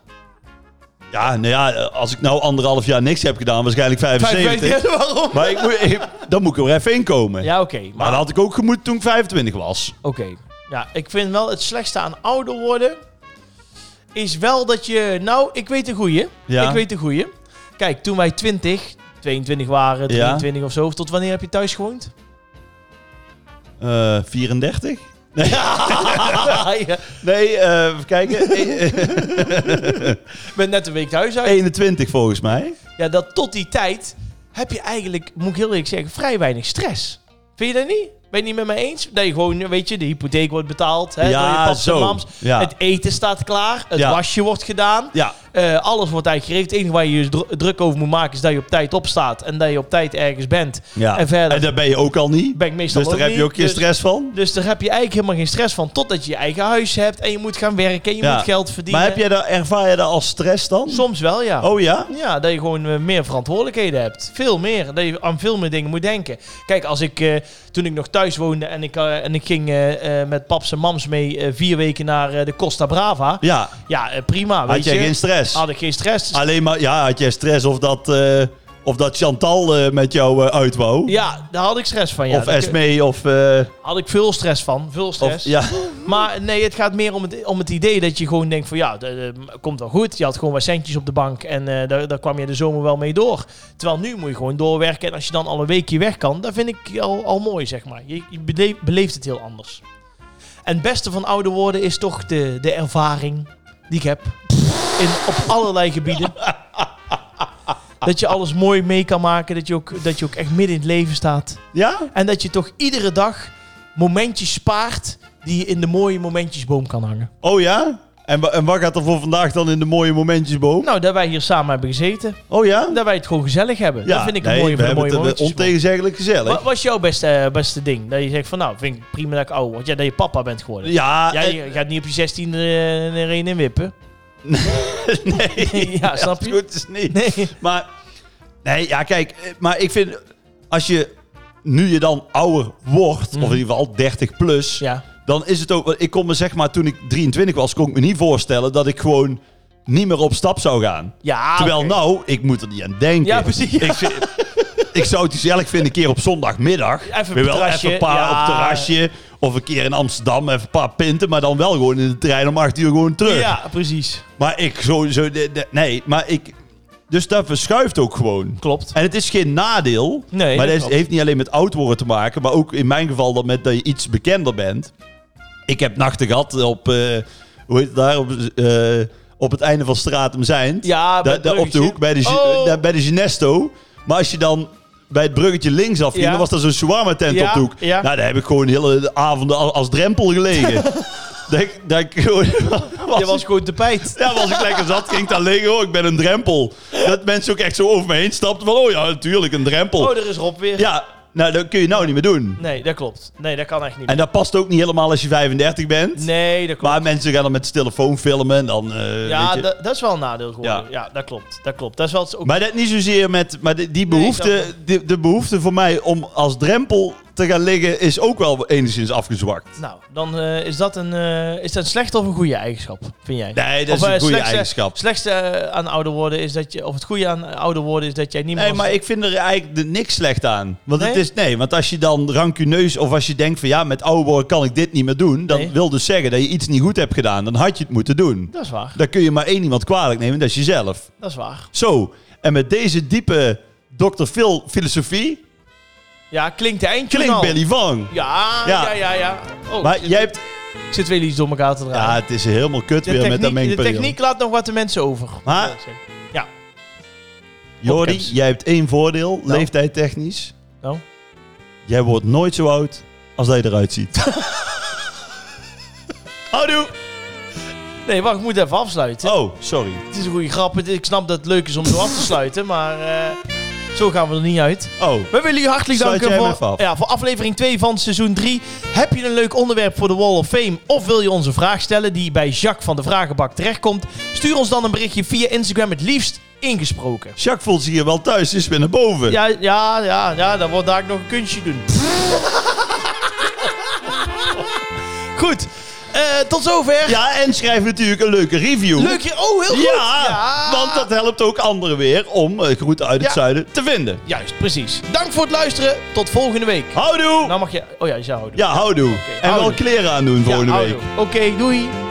[SPEAKER 2] Ja, nou ja, als ik nou anderhalf jaar niks heb gedaan, waarschijnlijk 75.
[SPEAKER 1] waarom?
[SPEAKER 2] Maar ik moet, ik- dan moet ik er even in komen.
[SPEAKER 1] Ja, oké.
[SPEAKER 2] Maar dat
[SPEAKER 1] Maar,
[SPEAKER 2] had ik ook gemoet toen ik 25 was.
[SPEAKER 1] oké. Ja, ik vind wel het slechtste aan ouder worden... is wel dat je... Nou, ik weet de goeie.
[SPEAKER 2] Ja.
[SPEAKER 1] Ik weet de goeie. Kijk, toen wij 20, 22 waren, 23 of zo... tot wanneer heb je thuis gewoond?
[SPEAKER 2] Eh, 34?
[SPEAKER 1] je
[SPEAKER 2] Nee, eh, even kijken. Eh,
[SPEAKER 1] bent net een week thuis uit.
[SPEAKER 2] 21 volgens mij.
[SPEAKER 1] Ja, dat tot die tijd heb je eigenlijk, moet ik heel eerlijk zeggen, vrij weinig stress. Vind je dat niet? Ben je niet met mij eens? Dat je gewoon, weet je, de hypotheek wordt betaald. Hè,
[SPEAKER 2] Ja,
[SPEAKER 1] door je paps en
[SPEAKER 2] zo.
[SPEAKER 1] mams.
[SPEAKER 2] Ja.
[SPEAKER 1] Het eten staat klaar. Het
[SPEAKER 2] Ja.
[SPEAKER 1] wasje wordt gedaan.
[SPEAKER 2] Ja,
[SPEAKER 1] Eh, alles wordt eigenlijk geregeld. Het enige waar je je dru- druk over moet maken is dat je op tijd opstaat. En dat je op tijd ergens bent.
[SPEAKER 2] ja.
[SPEAKER 1] En verder
[SPEAKER 2] daar ben je ook al niet.
[SPEAKER 1] ben ik meestal
[SPEAKER 2] Dus daar
[SPEAKER 1] ook
[SPEAKER 2] heb je
[SPEAKER 1] niet.
[SPEAKER 2] ook geen
[SPEAKER 1] Dus-
[SPEAKER 2] stress van.
[SPEAKER 1] Dus daar heb je eigenlijk helemaal geen stress van. Totdat je je eigen huis hebt en je moet gaan werken en je
[SPEAKER 2] Ja.
[SPEAKER 1] moet geld verdienen.
[SPEAKER 2] Maar heb jij daar, ervaar je dat als stress dan?
[SPEAKER 1] Soms wel, ja.
[SPEAKER 2] Oh ja?
[SPEAKER 1] Ja, dat je gewoon eh, meer verantwoordelijkheden hebt. Veel meer. Dat je aan veel meer dingen moet denken. Kijk, als ik, eh, toen ik nog thuis woonde en ik, eh, en ik ging eh, eh, met paps en mams mee eh, vier weken naar eh, de Costa Brava.
[SPEAKER 2] Ja.
[SPEAKER 1] Ja, eh, prima. Weet
[SPEAKER 2] Had jij
[SPEAKER 1] je. Ah,
[SPEAKER 2] geen stress?
[SPEAKER 1] Had ik geen stress.
[SPEAKER 2] Alleen maar, ja, had jij stress of dat, eh, of dat Chantal eh, met jou eh, uit wou?
[SPEAKER 1] ja, daar had ik stress van. Ja.
[SPEAKER 2] of
[SPEAKER 1] Daar
[SPEAKER 2] Esmee of... eh,
[SPEAKER 1] Had ik veel stress van. Veel stress.
[SPEAKER 2] of ja.
[SPEAKER 1] Maar nee, het gaat meer om het, om het idee dat je gewoon denkt van ja, dat, eh, komt wel goed. Je had gewoon wat centjes op de bank en eh, daar, daar kwam je de zomer wel mee door. Terwijl nu moet je gewoon doorwerken en als je dan al een weekje weg kan, dat vind ik al, al mooi zeg maar. Je, je beleef- beleeft het heel anders. En het beste van ouder worden is toch de, de ervaring die ik heb in, op allerlei gebieden. Dat je alles mooi mee kan maken, dat je, ook, dat je ook echt midden in het leven staat.
[SPEAKER 2] Ja?
[SPEAKER 1] En dat je toch iedere dag momentjes spaart die je in de mooie momentjesboom kan hangen.
[SPEAKER 2] Oh ja? En, wa- en wat gaat er voor vandaag dan in de mooie momentjesboom?
[SPEAKER 1] Nou, dat wij hier samen hebben gezeten.
[SPEAKER 2] Oh ja?
[SPEAKER 1] Nou, Dat wij het gewoon gezellig hebben. dat vind ik een
[SPEAKER 2] nee,
[SPEAKER 1] mooie,
[SPEAKER 2] we
[SPEAKER 1] van de
[SPEAKER 2] hebben
[SPEAKER 1] mooie
[SPEAKER 2] het eh,
[SPEAKER 1] momentjesboom.
[SPEAKER 2] ontegenzeggelijk gezellig.
[SPEAKER 1] Wat was jouw beste, eh, beste ding? Dat je zegt van nou, vind ik prima dat ik oud word. Ja, dat je papa bent geworden.
[SPEAKER 2] ja, eh,
[SPEAKER 1] Jij
[SPEAKER 2] en-
[SPEAKER 1] gaat niet op je 16 er eh, er een in wippen.
[SPEAKER 2] nee.
[SPEAKER 1] Ja, snap je?
[SPEAKER 2] Goed is niet.
[SPEAKER 1] Nee.
[SPEAKER 2] Maar, nee, ja, kijk, eh, maar ik vind, als je nu je dan ouder wordt, of in ieder geval 30 plus,
[SPEAKER 1] Mm. Ja.
[SPEAKER 2] dan is het ook, ik kon me zeg maar, toen ik 23 was, kon ik me niet voorstellen dat ik gewoon niet meer op stap zou gaan.
[SPEAKER 1] ja
[SPEAKER 2] Terwijl
[SPEAKER 1] Ah, oké.
[SPEAKER 2] nou, ik moet er niet aan denken.
[SPEAKER 1] Ja, precies. Ja.
[SPEAKER 2] Ik, vind- ik zou het gezellig vinden een keer op zondagmiddag.
[SPEAKER 1] Even op het
[SPEAKER 2] Weer wel
[SPEAKER 1] terrasje,
[SPEAKER 2] even een paar
[SPEAKER 1] ja.
[SPEAKER 2] op het terrasje. Of een keer in Amsterdam, even een paar pinten. Maar dan wel gewoon in de trein om acht uur gewoon terug.
[SPEAKER 1] Ja, precies.
[SPEAKER 2] Maar ik sowieso... de- de- Nee, maar ik... Dus dat verschuift ook gewoon.
[SPEAKER 1] Klopt.
[SPEAKER 2] En het is geen nadeel.
[SPEAKER 1] Nee,
[SPEAKER 2] maar
[SPEAKER 1] dat
[SPEAKER 2] dat is-
[SPEAKER 1] klopt.
[SPEAKER 2] heeft niet alleen met oud worden te maken. Maar ook in mijn geval dan met dat je iets bekender bent. Ik heb nachten gehad op... eh, hoe heet het daar? Op, eh, op het einde van Stratum Zijnd.
[SPEAKER 1] Ja, bij
[SPEAKER 2] Da- da- op de
[SPEAKER 1] Bruggetje.
[SPEAKER 2] hoek bij de, Gi-
[SPEAKER 1] Oh.
[SPEAKER 2] da- bij de Ginesto. Maar als je dan bij het bruggetje linksaf ging,
[SPEAKER 1] Ja.
[SPEAKER 2] dan was daar zo'n shawarma tent
[SPEAKER 1] Ja,
[SPEAKER 2] op de hoek.
[SPEAKER 1] ja.
[SPEAKER 2] Nou, daar heb ik gewoon de hele avonden al- als drempel gelegen. dat ik, dat ik gewoon... was
[SPEAKER 1] Je was gewoon te pijt.
[SPEAKER 2] ja, maar als ik lekker zat, ging ik daar liggen. Oh, ik ben een drempel. Dat mensen ook echt zo over me heen stapten. Van, oh ja, natuurlijk, een drempel.
[SPEAKER 1] Oh, daar is Rob weer.
[SPEAKER 2] Ja, nou, dat kun je nou niet meer doen.
[SPEAKER 1] Nee, dat klopt. Nee, dat kan echt niet.
[SPEAKER 2] En dat past ook niet helemaal als je 35 bent.
[SPEAKER 1] Nee, dat klopt.
[SPEAKER 2] Maar mensen gaan dan met zijn telefoon filmen en dan... eh,
[SPEAKER 1] Ja,
[SPEAKER 2] weet je.
[SPEAKER 1] da- dat is wel een nadeel geworden. Ja, dat klopt. Dat klopt. Dat is wel ook
[SPEAKER 2] Maar dat niet zozeer met... Maar die, die
[SPEAKER 1] Nee,
[SPEAKER 2] behoefte,
[SPEAKER 1] ik snap
[SPEAKER 2] die- de behoefte voor mij om als drempel te gaan liggen... is ook wel enigszins afgezwakt.
[SPEAKER 1] Nou, dan eh, is, dat een, eh, is dat een slechte of een goede eigenschap, vind jij?
[SPEAKER 2] Nee, dat
[SPEAKER 1] Of,
[SPEAKER 2] is een
[SPEAKER 1] eh,
[SPEAKER 2] goede
[SPEAKER 1] slechtste-
[SPEAKER 2] eigenschap.
[SPEAKER 1] Het slechtste eh, aan ouder worden is dat je, of het goede aan ouder worden is dat jij niet meer.
[SPEAKER 2] Nee,
[SPEAKER 1] als-
[SPEAKER 2] maar ik vind er eigenlijk de- niks slecht aan. Want het
[SPEAKER 1] Nee?
[SPEAKER 2] is nee, want als je dan rancuneus of als je denkt van ja, met oude woorden kan ik dit niet meer doen, dan
[SPEAKER 1] Nee.
[SPEAKER 2] wil dus zeggen dat je iets niet goed hebt gedaan. Dan had je het moeten doen.
[SPEAKER 1] Dat is waar.
[SPEAKER 2] Dan kun je maar één iemand kwalijk nemen, dat is jezelf.
[SPEAKER 1] Dat is waar.
[SPEAKER 2] Zo. En met deze diepe Dr. Phil filosofie
[SPEAKER 1] Ja, klinkt de eindje
[SPEAKER 2] klinkt
[SPEAKER 1] al.
[SPEAKER 2] Billy Vang.
[SPEAKER 1] Ja, ja,
[SPEAKER 2] Ja.
[SPEAKER 1] ja, ja. Oh,
[SPEAKER 2] Maar
[SPEAKER 1] zit-
[SPEAKER 2] jij hebt
[SPEAKER 1] Zitten we weer iets door elkaar te draaien.
[SPEAKER 2] Ja, het is helemaal kut
[SPEAKER 1] de,
[SPEAKER 2] weer
[SPEAKER 1] techniek,
[SPEAKER 2] met
[SPEAKER 1] de
[SPEAKER 2] dat mengpaneel.
[SPEAKER 1] techniek laat nog wat de mensen over.
[SPEAKER 2] Maar-
[SPEAKER 1] Ja.
[SPEAKER 2] Jordi,
[SPEAKER 1] Hopkins.
[SPEAKER 2] jij hebt één voordeel, leeftijdtechnisch.
[SPEAKER 1] Nou.
[SPEAKER 2] Jij wordt nooit zo oud als dat je eruit ziet. Houdoe!
[SPEAKER 1] Nee, wacht, ik moet even afsluiten.
[SPEAKER 2] Oh, sorry.
[SPEAKER 1] Het is een goede grap. Het- Ik snap dat het leuk is om zo af te sluiten, maar eh, zo gaan we er niet uit.
[SPEAKER 2] Oh,
[SPEAKER 1] We willen jullie hartelijk
[SPEAKER 2] Sluit
[SPEAKER 1] danken
[SPEAKER 2] jij hem
[SPEAKER 1] voor,
[SPEAKER 2] even af.
[SPEAKER 1] Ja, voor aflevering 2 van seizoen 3. Heb je een leuk onderwerp voor de Wall of Fame of wil je onze vraag stellen die bij Jacques van de Vragenbak terechtkomt? Stuur ons dan een berichtje via Instagram, het liefst ingesproken.
[SPEAKER 2] Jacques voelt zich hier wel thuis, is weer naar boven.
[SPEAKER 1] Ja, ja, ja, ja, dan wordt daar nog een kunstje doen. Goed, eh, tot zover.
[SPEAKER 2] Ja, en schrijf natuurlijk een leuke review.
[SPEAKER 1] Leuk je. Oh, heel goed.
[SPEAKER 2] Ja, want dat helpt ook anderen weer om eh, groeten uit het
[SPEAKER 1] Ja.
[SPEAKER 2] zuiden te vinden.
[SPEAKER 1] Juist, precies. Dank voor het luisteren. Tot volgende week.
[SPEAKER 2] Houdoe!
[SPEAKER 1] Nou mag je... Oh ja, je zou houden.
[SPEAKER 2] Ja, houdoe. en wel
[SPEAKER 1] houdoe.
[SPEAKER 2] kleren aandoen volgende
[SPEAKER 1] Ja,
[SPEAKER 2] week.
[SPEAKER 1] houdoe. Oké, doei.